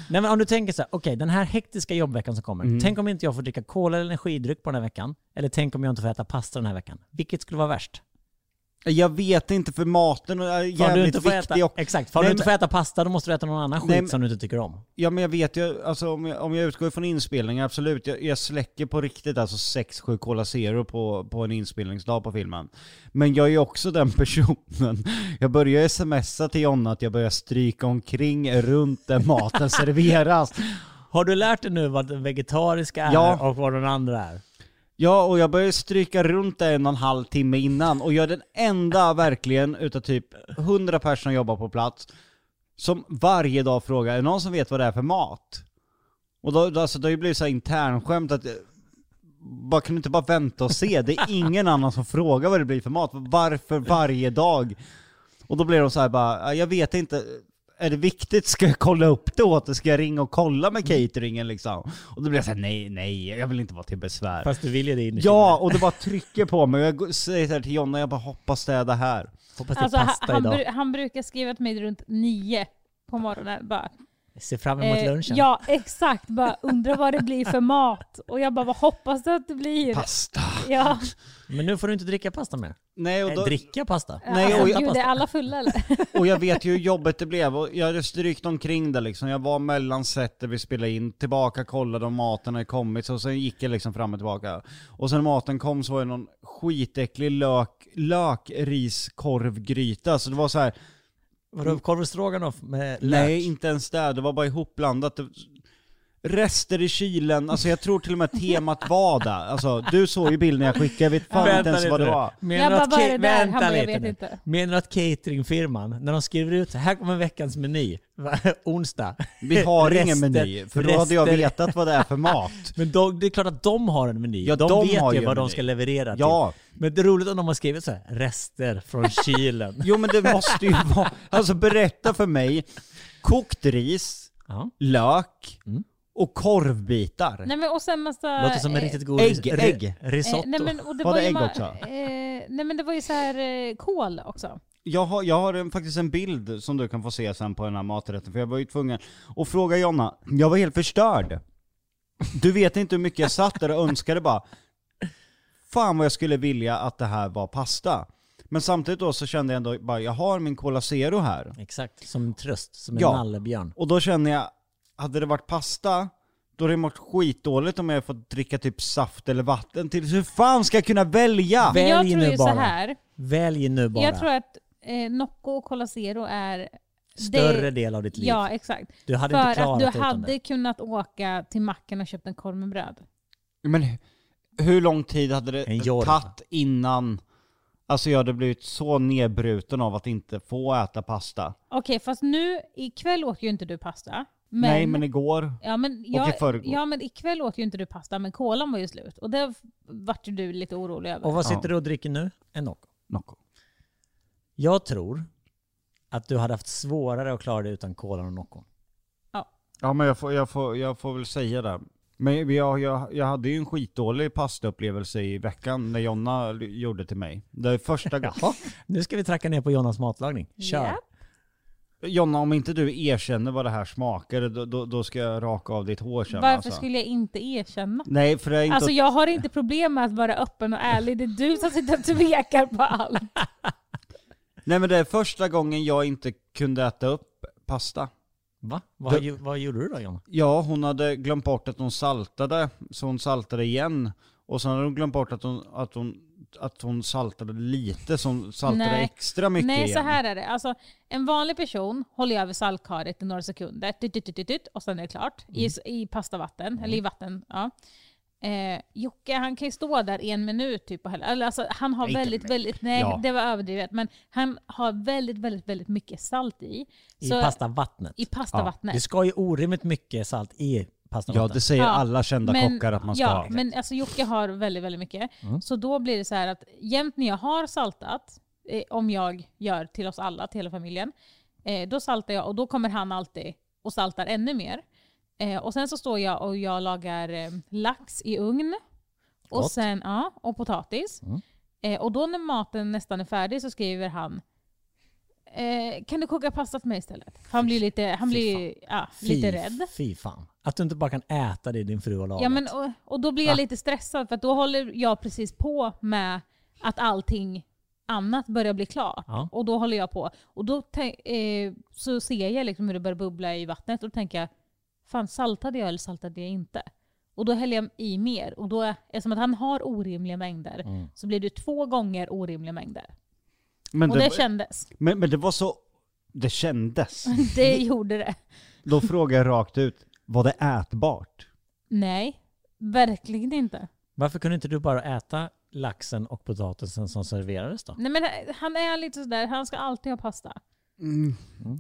Speaker 3: Nej men om du tänker så här, okej den här hektiska jobbveckan som kommer.
Speaker 2: Mm.
Speaker 3: Tänk om inte jag får dricka cola eller energidryck på den här veckan. Eller tänk om jag inte får äta pasta den här veckan. Vilket skulle vara värst?
Speaker 2: Jag vet inte för maten är
Speaker 3: Får du
Speaker 2: jävligt
Speaker 3: inte får
Speaker 2: viktig
Speaker 3: äta,
Speaker 2: och...
Speaker 3: exakt, får
Speaker 2: Nej,
Speaker 3: du inte får
Speaker 2: men-
Speaker 3: äta pasta då måste du äta någon annan skit
Speaker 2: Nej, men-
Speaker 3: som du inte tycker om.
Speaker 2: Ja men jag vet ju, alltså om jag, om jag utgår från inspelningar, absolut. Jag, jag släcker på riktigt alltså 6-7 Cola Zero på, på en inspelningsdag på filmen. Men jag är ju också den personen. [laughs] Jag börjar smsa till Jonna att jag börjar stryka omkring runt där
Speaker 3: [laughs]
Speaker 2: maten serveras.
Speaker 3: Har du lärt dig nu vad den vegetariska är
Speaker 2: Ja.
Speaker 3: och vad den andra är?
Speaker 2: Ja, och jag började stryka runt där en och en halv timme innan och jag är den enda verkligen utav typ 100 personer som jobbar på plats som varje dag frågar är det någon som vet vad det är för mat? Och då, då, alltså, det har ju blivit så här internskämt att eh, bara, kan du inte bara vänta och se? Det är ingen annan som frågar vad det blir för mat. Varför varje dag? Och då blir de så här bara, "Ja, jag vet inte. Är det viktigt? Ska jag kolla upp det åt dig? Ska jag ringa och kolla med cateringen liksom? Och då blir jag så här, nej, nej, jag vill inte vara till besvär.
Speaker 3: Fast du vill ju det innerst
Speaker 2: Ja, och det bara trycker på mig. Jag går- säger så här till Jonna, jag bara hoppas det är det här.
Speaker 3: Hoppas det
Speaker 4: Alltså,
Speaker 3: är
Speaker 4: han,
Speaker 3: pasta
Speaker 4: han,
Speaker 3: idag.
Speaker 4: bru- han brukar skriva till mig runt nio på morgonen. Bara,
Speaker 3: Ser fram emot
Speaker 4: eh,
Speaker 3: lunchen.
Speaker 4: ja, exakt. Bara undrar vad det blir för mat. Och jag bara, vad hoppas du att det blir?
Speaker 2: Pasta.
Speaker 4: Ja.
Speaker 3: Men nu får du inte dricka pasta mer.
Speaker 2: Nej, och
Speaker 3: Nej,
Speaker 2: då,
Speaker 3: dricka pasta.
Speaker 2: Nej,
Speaker 4: ja,
Speaker 2: och-
Speaker 4: Alltså, Gud, är alla
Speaker 3: [laughs]
Speaker 4: fulla eller?
Speaker 2: Och jag vet ju hur jobbigt det blev och jag strykte omkring det liksom. Jag var mellan sätter vi spelade in, tillbaka kollade om maten hade kommit och sen gick jag liksom fram och tillbaka. Och sen när maten kom så var det någon skitäcklig lök, lökriskorvgryta. Så det var så här,
Speaker 3: Vadå, korv och stroganoff med lök?
Speaker 2: nej inte ens där, det var bara ihopblandat. Det- Rester i kylen, alltså jag tror till och med temat var där. Alltså du såg ju bilden jag skickade, jag vet fan inte ens vad det
Speaker 3: nu.
Speaker 2: var.
Speaker 4: Jag
Speaker 3: Menar
Speaker 4: bara,
Speaker 3: du att
Speaker 4: vad är det
Speaker 3: ca-
Speaker 4: där? Han
Speaker 3: vänta
Speaker 4: bara, jag
Speaker 3: lite
Speaker 4: vet
Speaker 3: nu.
Speaker 4: inte.
Speaker 3: Menar du att cateringfirman, när de skriver ut så här kommer veckans meny, va, [laughs] onsdag.
Speaker 2: Vi har ingen
Speaker 3: Rester-
Speaker 2: meny, för då hade jag
Speaker 3: rester-
Speaker 2: vetat vad det är för mat.
Speaker 3: Men de, det är klart att de har en meny.
Speaker 2: Ja,
Speaker 3: de,
Speaker 2: de
Speaker 3: vet
Speaker 2: har
Speaker 3: ju
Speaker 2: ju
Speaker 3: vad
Speaker 2: en
Speaker 3: de
Speaker 2: meny.
Speaker 3: ska leverera
Speaker 2: Ja.
Speaker 3: till. Men det är roligt om de har skrivit så här, rester
Speaker 2: [laughs]
Speaker 3: från kylen.
Speaker 2: Jo men det måste ju vara, alltså berätta för mig, kokt ris,
Speaker 3: ja.
Speaker 2: lök
Speaker 3: Mm.
Speaker 2: och korvbitar.
Speaker 4: Nej men och sen massa...
Speaker 3: Låter som en
Speaker 4: eh,
Speaker 3: riktigt god
Speaker 2: ägg,
Speaker 3: ris-
Speaker 2: ägg.
Speaker 3: risotto.
Speaker 4: eh, nej, men, och det
Speaker 2: Var
Speaker 4: var,
Speaker 2: det
Speaker 4: ju
Speaker 2: ägg
Speaker 4: ma-
Speaker 2: också?
Speaker 4: Eh, nej men det var ju så här eh, kol också.
Speaker 2: Jag har, jag har en, faktiskt en bild som du kan få se sen på den här maträtten, för jag var ju tvungen att fråga Jonna, jag var helt förstörd. Du vet inte hur mycket jag satt där och önskade bara, fan vad jag skulle vilja att det här var pasta. Men samtidigt då så kände jag ändå bara, jag har min Cola Zero här.
Speaker 3: Exakt, som tröst, som en
Speaker 2: Ja.
Speaker 3: nallebjörn.
Speaker 2: Och då känner jag, hade det varit pasta, då hade det varit skitdåligt om jag fått dricka typ saft eller vatten till. Så Hur fan ska jag kunna välja?
Speaker 3: Välj
Speaker 4: Men jag tror
Speaker 3: nu
Speaker 4: ju
Speaker 3: bara.
Speaker 4: så här.
Speaker 3: Välj nu bara.
Speaker 4: Jag tror att eh, Nocco och Cola Zero är...
Speaker 3: Större del av ditt liv.
Speaker 4: Ja, exakt.
Speaker 3: Du hade inte
Speaker 4: För
Speaker 3: klarat
Speaker 4: att
Speaker 3: det
Speaker 4: du
Speaker 3: utan
Speaker 4: hade
Speaker 3: det.
Speaker 4: kunnat åka till macken och köpt en korv med bröd.
Speaker 2: Men hu- hur lång tid hade
Speaker 3: En
Speaker 2: det
Speaker 3: jorv.
Speaker 2: tagit innan Alltså jag hade blivit så nedbruten av att inte få äta pasta.
Speaker 4: Okej, fast nu ikväll åt ju inte du pasta. Men,
Speaker 2: Nej men igår,
Speaker 4: ja, men
Speaker 2: i
Speaker 4: jag,
Speaker 2: förrgår.
Speaker 4: ja, men ikväll åt ju inte du pasta, men kolan var ju slut. Och det vart ju du lite orolig över.
Speaker 3: Och vad sitter
Speaker 2: Ja.
Speaker 3: du och dricker nu? En Nocco.
Speaker 2: Nocco.
Speaker 3: Jag tror att du hade haft svårare att klara dig utan kolan och Nocco.
Speaker 2: Ja men jag får, jag får, jag får väl säga det. Men jag, jag, jag hade ju en skitdålig pastaupplevelse i veckan när Jonna l- gjorde till mig. Det är [laughs] första gången.
Speaker 3: Jaha, nu ska vi tracka ner på Jonas matlagning. Kör!
Speaker 4: Ja.
Speaker 2: Jonna, om inte du erkänner vad det här smakar, då, då, då ska jag raka av ditt hår sen.
Speaker 4: Varför
Speaker 2: alltså.
Speaker 4: skulle jag inte erkänna?
Speaker 2: Nej, för det är inte...
Speaker 4: Alltså jag har inte problem med att vara öppen och ärlig. Det är du som sitter och tvekar på allt.
Speaker 2: Nej men det är första gången jag inte kunde äta upp pasta.
Speaker 3: Va? Vad,
Speaker 2: Du-
Speaker 3: ju- vad gjorde du då Jonna?
Speaker 2: Ja, hon hade glömt bort att hon saltade, så hon saltade igen. Och sen hade hon glömt bort att hon, att hon, att hon saltade lite, så hon saltade
Speaker 4: Nej.
Speaker 2: extra mycket
Speaker 4: Nej,
Speaker 2: igen.
Speaker 4: så här är det. Alltså, en vanlig person håller över saltkaret i några sekunder, tut, tut, tut, tut, tut, och sen är det klart.
Speaker 2: Mm.
Speaker 4: I, i pastavatten, eller i vatten. Ja. Eh, Jocke, han kan ju stå där en minut typ och hälla. Eller, Alltså, han har
Speaker 2: Inte
Speaker 4: väldigt,
Speaker 2: mig.
Speaker 4: väldigt, nej
Speaker 2: Ja.
Speaker 4: det var överdrivet, men han har väldigt, väldigt, väldigt mycket salt i.
Speaker 3: I
Speaker 4: Så-
Speaker 3: pastavattnet.
Speaker 4: I pastavattnet.
Speaker 3: Det ska ju orimligt mycket salt i
Speaker 2: Ja,
Speaker 3: pastavattnet.
Speaker 2: det säger
Speaker 4: Ja,
Speaker 2: alla kända kockar att man ska
Speaker 4: ja,
Speaker 2: ha.
Speaker 4: men alltså Jocke har väldigt, väldigt mycket.
Speaker 3: Mm.
Speaker 4: Så då blir det så här att jämt när jag har saltat, eh, om jag gör till oss alla, till hela familjen, eh, då saltar jag och då kommer han alltid och saltar ännu mer. Eh, och sen så står jag och jag lagar eh, lax i ugn. Och,
Speaker 3: Gott. Mm.
Speaker 4: sen, ja, och potatis. Eh, och då när maten nästan är färdig så skriver han eh, kan du koka pasta till mig istället? För han blir lite, han
Speaker 3: fy
Speaker 4: blir, ja,
Speaker 3: fy,
Speaker 4: lite rädd.
Speaker 3: Fy fan. Att du inte bara kan äta det din fru har lagat.
Speaker 4: Ja, men, och, och då blir jag lite stressad för att då håller jag precis på med att allting annat börjar bli klart.
Speaker 3: Ja.
Speaker 4: Och då håller jag på. Och då tän- eh, så ser jag liksom hur det börjar bubbla i vattnet och då tänker jag, fan saltade jag eller saltade jag inte? Och då häller jag i mer. Och då, eftersom att han har orimliga mängder så blir det två gånger orimliga mängder.
Speaker 2: Men
Speaker 4: och det,
Speaker 2: det,
Speaker 4: kändes. [laughs]
Speaker 2: men, men det var så... Det kändes.
Speaker 4: Det gjorde det.
Speaker 2: Då frågar jag rakt ut, var det ätbart?
Speaker 4: Nej, verkligen inte.
Speaker 3: Varför kunde inte du bara äta laxen och potatisen som serverades då?
Speaker 4: Nej, men eh, han är lite sådär, han ska alltid ha pasta.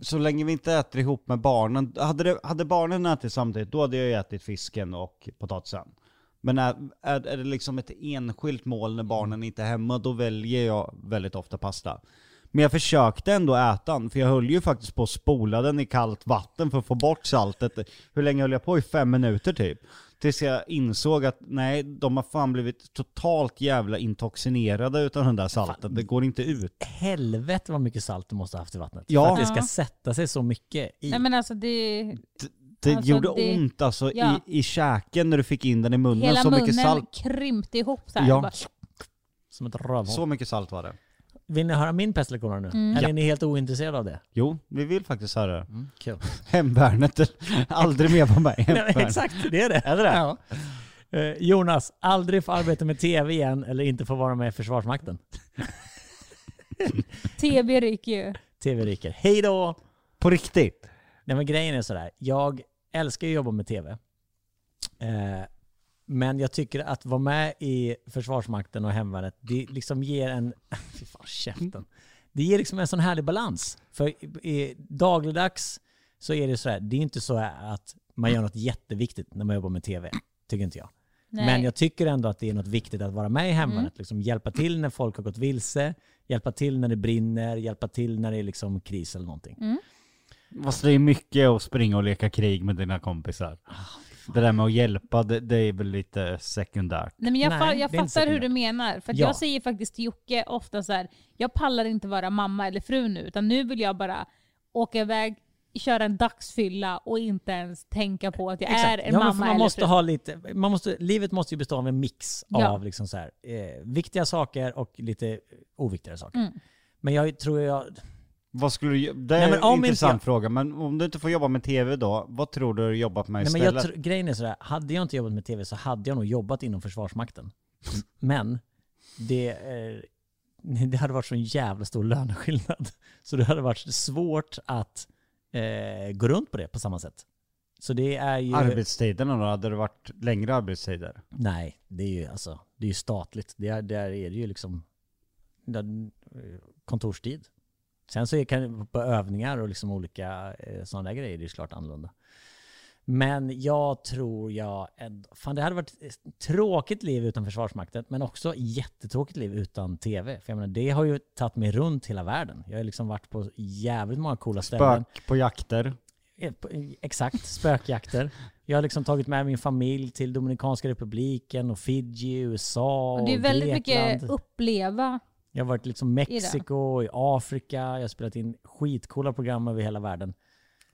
Speaker 2: Så länge vi inte äter ihop med barnen, hade, det, hade barnen ätit samtidigt då hade jag ju ätit fisken och potatisen. Men är, är, är det liksom ett enskilt mål när barnen inte är hemma, då väljer jag väldigt ofta pasta. Men jag försökte ändå äta den, för jag höll ju faktiskt på att spola den i kallt vatten för att få bort saltet. Hur länge höll jag på? I fem minuter typ. Tills jag insåg att nej, de har fan blivit totalt jävla intoxinerade utan den där saltet. Det går inte ut.
Speaker 3: Helvete vad mycket salt du måste ha haft i vattnet.
Speaker 2: Ja.
Speaker 3: För att det ska
Speaker 4: Ja.
Speaker 3: sätta sig så mycket i.
Speaker 4: Nej men alltså det,
Speaker 2: Det
Speaker 4: Alltså,
Speaker 2: gjorde
Speaker 4: det-
Speaker 2: ont alltså
Speaker 4: ja.
Speaker 2: i, i käken när du fick in den i munnen
Speaker 4: Hela
Speaker 2: så mycket
Speaker 4: munnen
Speaker 2: salt.
Speaker 4: krympte ihop så här.
Speaker 2: Ja.
Speaker 4: Bara,
Speaker 3: Som ett rövhål.
Speaker 2: Så mycket salt var det.
Speaker 3: Vill ni höra min pestlektion nu?
Speaker 4: Mm.
Speaker 3: Eller är ni helt ointresserade av det?
Speaker 2: Jo, vi vill faktiskt höra det.
Speaker 3: Kul.
Speaker 2: Hemvärnet, aldrig mer på mig.
Speaker 3: Mm. [laughs] Nej, men exakt, det är det. Är det, Ja. Eh, Jonas, aldrig få arbeta med tv igen eller inte få vara med i Försvarsmakten.
Speaker 4: TB ryker ju.
Speaker 3: Tv ryker. Hej då!
Speaker 2: På riktigt.
Speaker 3: Nej men grejen är sådär, jag älskar ju att jobba med tv. Eh, men jag tycker att vara med i Försvarsmakten och Hemvärnet, det liksom ger en... [laughs] Fy fan, käften. Det ger liksom en sån härlig balans. För i, i, dagligdags så är det sådär, det är inte så att man gör något jätteviktigt när man jobbar med tv. Tycker inte jag.
Speaker 4: Nej.
Speaker 3: Men jag tycker ändå att det är något viktigt att vara med i hemvärnet. Liksom hjälpa till när folk har gått vilse, hjälpa till när det brinner, hjälpa till när det är liksom kris eller någonting.
Speaker 2: Fast det är mycket att springa och leka krig med dina kompisar.
Speaker 3: Ah,
Speaker 2: Det där med att hjälpa, det, det är väl lite sekundärt.
Speaker 4: Nej, men jag,
Speaker 3: Nej,
Speaker 4: fa-
Speaker 3: det är
Speaker 4: jag
Speaker 3: inte så
Speaker 4: fattar hur
Speaker 3: illa.
Speaker 4: du menar. För att
Speaker 3: Ja.
Speaker 4: jag säger faktiskt till Jocke ofta så här, jag pallar inte vara mamma eller fru nu, utan nu vill jag bara åka iväg, köra en dagsfylla och inte ens tänka på att jag är
Speaker 3: Ja,
Speaker 4: en
Speaker 3: men för
Speaker 4: mamma
Speaker 3: man
Speaker 4: eller
Speaker 3: måste
Speaker 4: fru.
Speaker 3: ha lite, man måste, Livet måste ju bestå av en mix
Speaker 4: Ja.
Speaker 3: av liksom så här, eh, viktiga saker och lite eh, oviktigare saker.
Speaker 4: Mm.
Speaker 3: Men jag tror jag...
Speaker 2: Vad skulle du, det
Speaker 3: Nej,
Speaker 2: är
Speaker 3: men om
Speaker 2: en
Speaker 3: inte
Speaker 2: intressant
Speaker 3: jag-
Speaker 2: fråga, men om du inte får jobba med tv då, vad tror du du jobbat med
Speaker 3: Nej, men
Speaker 2: istället?
Speaker 3: jag tr- grejen är sådär, hade jag inte jobbat med tv så hade jag nog jobbat inom Försvarsmakten. Men det, eh, [laughs] det hade varit så en jävla stor löneskillnad. [laughs] Så det hade varit svårt att eh, gå runt på det på samma sätt. Så det är ju...
Speaker 2: Arbetstiderna då, hade det varit längre arbetstider?
Speaker 3: Nej, det är ju alltså, det är ju statligt. Det är, där är det ju liksom där, eh, kontorstid. Sen så är, kan, på övningar och liksom olika sådana där grejer, det är ju klart annorlunda. Men jag tror jag... ändå- Fan, det hade varit ett tråkigt liv utan Försvarsmakten, men också jättetråkigt liv utan TV. För jag menar, det har ju tagit mig runt hela världen. Jag har liksom varit på jävligt många coola ställen.
Speaker 2: Spök på jakter?
Speaker 3: Eh, på- Exakt, spökjakter. Jag har liksom tagit med min familj till Dominikanska republiken och Fiji, USA
Speaker 4: Och
Speaker 3: och
Speaker 4: det är väldigt
Speaker 3: Grekland.
Speaker 4: mycket uppleva.
Speaker 3: Jag har varit liksom Mexiko, i Afrika, jag har spelat in skitcoola program över hela världen.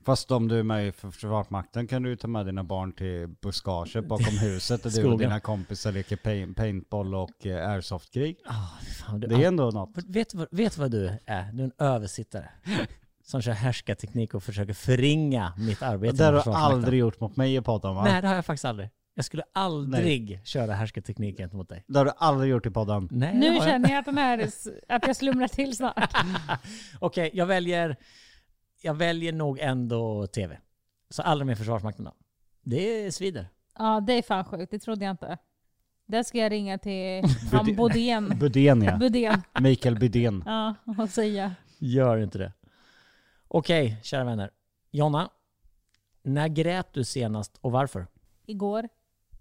Speaker 2: Fast om du är med i Försvarsmakten kan du ju ta med dina barn till buskaget bakom huset där du och
Speaker 3: Skogen.
Speaker 2: dina kompisar leker pain- paintball och eh, airsoftkrig.
Speaker 3: Ah, fan, du,
Speaker 2: Det är ändå något.
Speaker 3: vet, du vad- vet du vad du är? Du är en
Speaker 2: [laughs]
Speaker 3: översittare. Som kör härskarteknik och försöker förringa mitt arbete.
Speaker 2: Det där
Speaker 3: med
Speaker 2: har du
Speaker 3: Försvarsmakten.
Speaker 2: aldrig gjort mot mig i podden va?
Speaker 3: Nej, det har jag faktiskt aldrig. Jag skulle aldrig köra härskarteknik gentemot dig.
Speaker 2: Det har du aldrig gjort i podden.
Speaker 3: Nej, det har
Speaker 4: Nu
Speaker 3: jag
Speaker 4: känner jag att, den här, är s- att jag slumrar
Speaker 3: [laughs]
Speaker 4: till snart.
Speaker 3: Okej, jag väljer... Jag väljer nog ändå tv. Så aldrig mer Försvarsmakten då. Det svider.
Speaker 4: Ja, det är fan sjukt. Det trodde jag inte. Där ska jag ringa till han
Speaker 2: Budén.
Speaker 4: Bodén.
Speaker 2: Budén ja.
Speaker 4: Budén.
Speaker 2: Mikael Budén.
Speaker 4: Ja, och säga.
Speaker 3: Gör inte det. Okej, kära vänner. Jonna, när grät du senast och varför?
Speaker 4: Igår.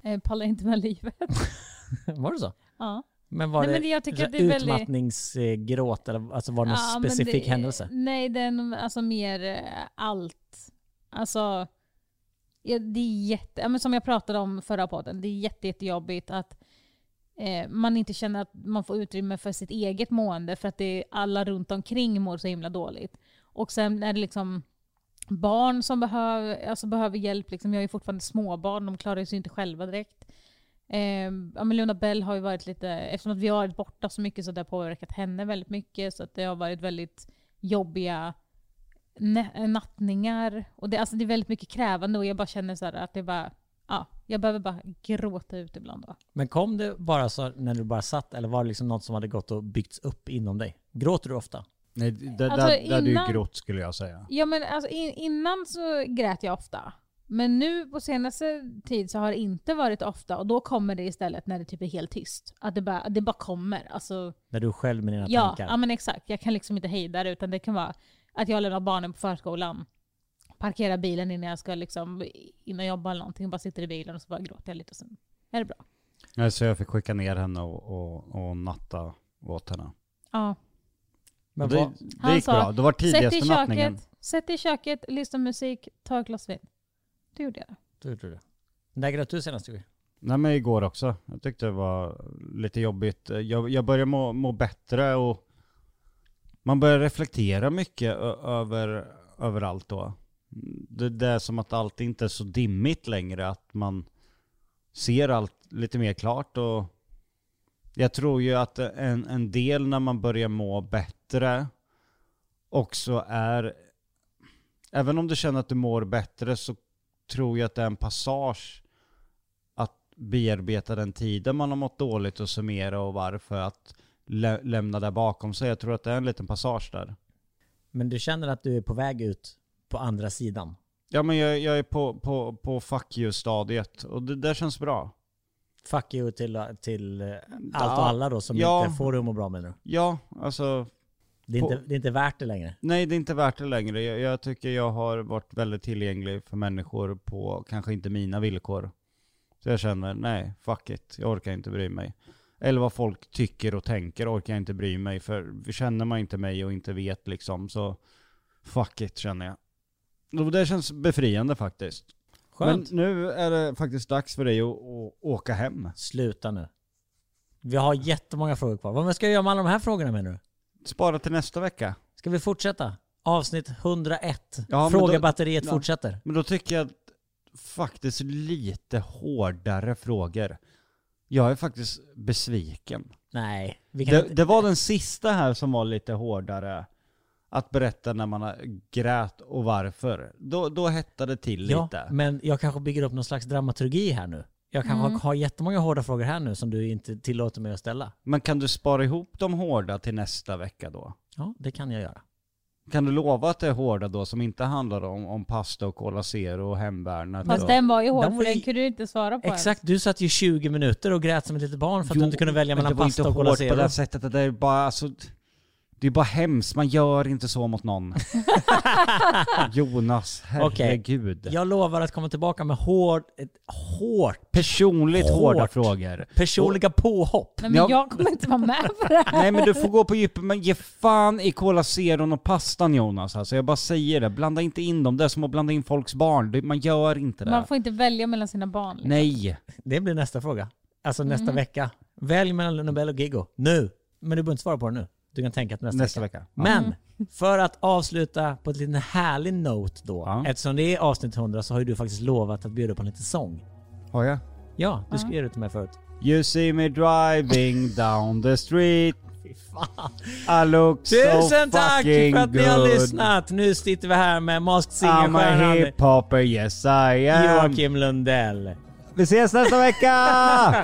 Speaker 4: Eh, pallar inte med livet.
Speaker 3: [laughs]
Speaker 4: [laughs]
Speaker 3: Var det så?
Speaker 4: Ja.
Speaker 3: Men var
Speaker 4: Nej,
Speaker 3: det,
Speaker 4: men jag tycker
Speaker 3: så
Speaker 4: att det är väldigt-
Speaker 3: utmattningsgråt eller alltså var det någon
Speaker 4: Ja, men
Speaker 3: specifik
Speaker 4: det-
Speaker 3: händelse?
Speaker 4: Nej, det är nog alltså mer eh, allt. Alltså, ja, det är jätte, ja, men som jag pratade om förra podden, det är jätte, jättejobbigt att eh, man inte känner att man får utrymme för sitt eget mående för att det är alla runt omkring mår så himla dåligt. Och sen är det liksom barn som behöver, alltså behöver hjälp. Liksom. Jag har ju fortfarande småbarn, de klarar sig ju inte själva direkt. Eh, ja, men Luna Bell har ju varit lite, eftersom att vi har varit borta så mycket så det har påverkat henne väldigt mycket. Så att det har varit väldigt jobbiga nä- eh, nattningar. Och det, alltså det är väldigt mycket krävande och jag bara känner så här att det bara, ja, jag behöver bara gråta ut ibland. Då.
Speaker 3: Men kom det bara så när du bara satt eller var det liksom något som hade gått och byggts upp inom dig? Gråter du ofta?
Speaker 2: Nej, det, det, där,
Speaker 4: Alltså,
Speaker 2: där är
Speaker 4: innan-
Speaker 2: ju grått skulle jag säga.
Speaker 4: Ja men alltså in, innan så grät jag ofta. Men nu på senaste tid så har det inte varit ofta och då kommer det istället när det typ är helt tyst. Att det bara, det bara kommer. Alltså,
Speaker 3: När du är själv med dina
Speaker 4: ja,
Speaker 3: tankar?
Speaker 4: ja men exakt. Jag kan liksom inte hejda det utan det kan vara att jag lämnar barnen på förskolan, parkerar bilen innan jag ska liksom in och jobba eller någonting. Bara sitter i bilen och så bara gråter jag lite och sen är det bra.
Speaker 2: Nej, Så jag fick skicka ner henne och, och, och natta åt henne.
Speaker 4: Ja.
Speaker 3: Men
Speaker 2: det,
Speaker 3: vad-
Speaker 2: det
Speaker 4: Han
Speaker 2: gick
Speaker 4: sa,
Speaker 2: bra. Det var
Speaker 4: Sätt dig i
Speaker 2: tidigaste nattningen.
Speaker 4: köket, sätt dig i köket, lyssna på musik, ta ett glas vin. Det gjorde jag.
Speaker 3: Du gjorde det. När grät du senast? Jocke?
Speaker 2: Nej men igår också. Jag tyckte det var lite jobbigt. Jag, jag börjar må, må bättre och man börjar reflektera mycket ö- över, över allt då. Det, det är som att allt inte är så dimmigt längre, att man ser allt lite mer klart och Jag tror ju att en, en del när man börjar må bättre också är, även om du känner att du mår bättre så tror jag att det är en passage att bearbeta den tiden man har mått dåligt och summera och varför att lä- lämna det bakom sig. Jag tror att det är en liten passage där.
Speaker 3: Men du känner att du är på väg ut på andra sidan?
Speaker 2: Ja men jag, jag är på, på, på fuck you-stadiet och det där känns bra.
Speaker 3: Fuck you till, till eh, allt
Speaker 2: Ja.
Speaker 3: och alla då som
Speaker 2: Ja.
Speaker 3: inte får det att må bra menar du?
Speaker 2: Ja, alltså
Speaker 3: Det är,
Speaker 2: På-
Speaker 3: inte, det är inte värt det längre.
Speaker 2: Nej, det är inte värt det längre. Jag, jag tycker jag har varit väldigt tillgänglig för människor på kanske inte mina villkor. Så jag känner, nej, fuck it. Jag orkar inte bry mig. Eller vad folk tycker och tänker orkar jag inte bry mig för. Känner man inte mig och inte vet liksom så fuck it känner jag. Och det känns befriande faktiskt.
Speaker 3: Skönt.
Speaker 2: Men nu är det faktiskt dags för dig att, att åka hem.
Speaker 3: Sluta nu. Vi har jättemånga frågor kvar. Vad ska jag göra med alla de här frågorna menar du?
Speaker 2: Spara till nästa vecka.
Speaker 3: Ska vi fortsätta? Avsnitt 101.
Speaker 2: Ja, men
Speaker 3: Fråga
Speaker 2: då-
Speaker 3: batteriet
Speaker 2: Ja.
Speaker 3: fortsätter.
Speaker 2: Men då tycker jag att faktiskt lite hårdare frågor. Jag är faktiskt besviken.
Speaker 3: Nej, vi kan
Speaker 2: Det,
Speaker 3: inte.
Speaker 2: det var den sista här som var lite hårdare. Att berätta när man har grät och varför. Då, då hettade det till
Speaker 3: Ja,
Speaker 2: lite.
Speaker 3: men jag kanske bygger upp någon slags dramaturgi här nu. Jag kanske har jättemånga hårda frågor här nu som du inte tillåter mig att ställa.
Speaker 2: Men kan du spara ihop de hårda till nästa vecka då?
Speaker 3: Ja, det kan jag göra.
Speaker 2: Kan du lova att det är hårda då som inte handlar om, om pasta och Cola Zero och hemvärnet?
Speaker 4: Fast
Speaker 2: och-
Speaker 4: den var ju hård
Speaker 3: Den var
Speaker 4: för
Speaker 3: ju-
Speaker 4: den kunde du inte svara på. ens.
Speaker 3: Exakt, du satt ju 20 minuter och grät som ett litet barn för att
Speaker 2: Jo,
Speaker 3: du inte kunde välja
Speaker 2: men
Speaker 3: mellan
Speaker 2: det var inte
Speaker 3: pasta och Cola
Speaker 2: hårt på
Speaker 3: Zero.
Speaker 2: det sättet. att Det är bara, alltså, det är bara hemskt. Man gör inte så mot
Speaker 3: [laughs]
Speaker 2: någon. Jonas, herregud.
Speaker 3: Jag lovar att komma tillbaka med hård, ett hårt,
Speaker 2: Personligt hårda
Speaker 3: Hårt.
Speaker 2: frågor.
Speaker 3: personliga påhopp.
Speaker 4: Nej, men
Speaker 2: Ja.
Speaker 4: jag kommer inte vara med på det här.
Speaker 2: Nej men du får gå på djupet, men ge fan i Cola Zeron och pastan Jonas. Alltså jag bara säger det. Blanda inte in dem. Det är som att blanda in folks barn. Det- Man gör inte det.
Speaker 4: Man får inte välja mellan sina barn. liksom.
Speaker 2: Nej.
Speaker 3: Det blir nästa fråga. Alltså nästa
Speaker 4: Mm.
Speaker 3: vecka. Välj mellan Nobel och Giggo. Nu! Men du behöver inte svara på det nu. Du kan tänka till nästa,
Speaker 2: Nästa
Speaker 3: vecka.
Speaker 2: vecka. Ja.
Speaker 4: Mm.
Speaker 3: Men för att avsluta på en liten härlig note då.
Speaker 2: Ja.
Speaker 3: Eftersom det är avsnitt 100 så har ju du faktiskt lovat att bjuda på en liten sång.
Speaker 2: Har jag?
Speaker 3: Ja, du skrev det till mig förut.
Speaker 2: You see me driving down the street.
Speaker 3: Fy fan.
Speaker 2: I look so
Speaker 3: Tusen
Speaker 2: fucking
Speaker 3: tack för att ni har
Speaker 2: good.
Speaker 3: lyssnat! Nu sitter vi här med Masked
Speaker 2: I'm a
Speaker 3: Singer-stjärnan
Speaker 2: hip-hopper, yes I am.
Speaker 3: Joakim Lundell.
Speaker 2: Vi ses nästa vecka!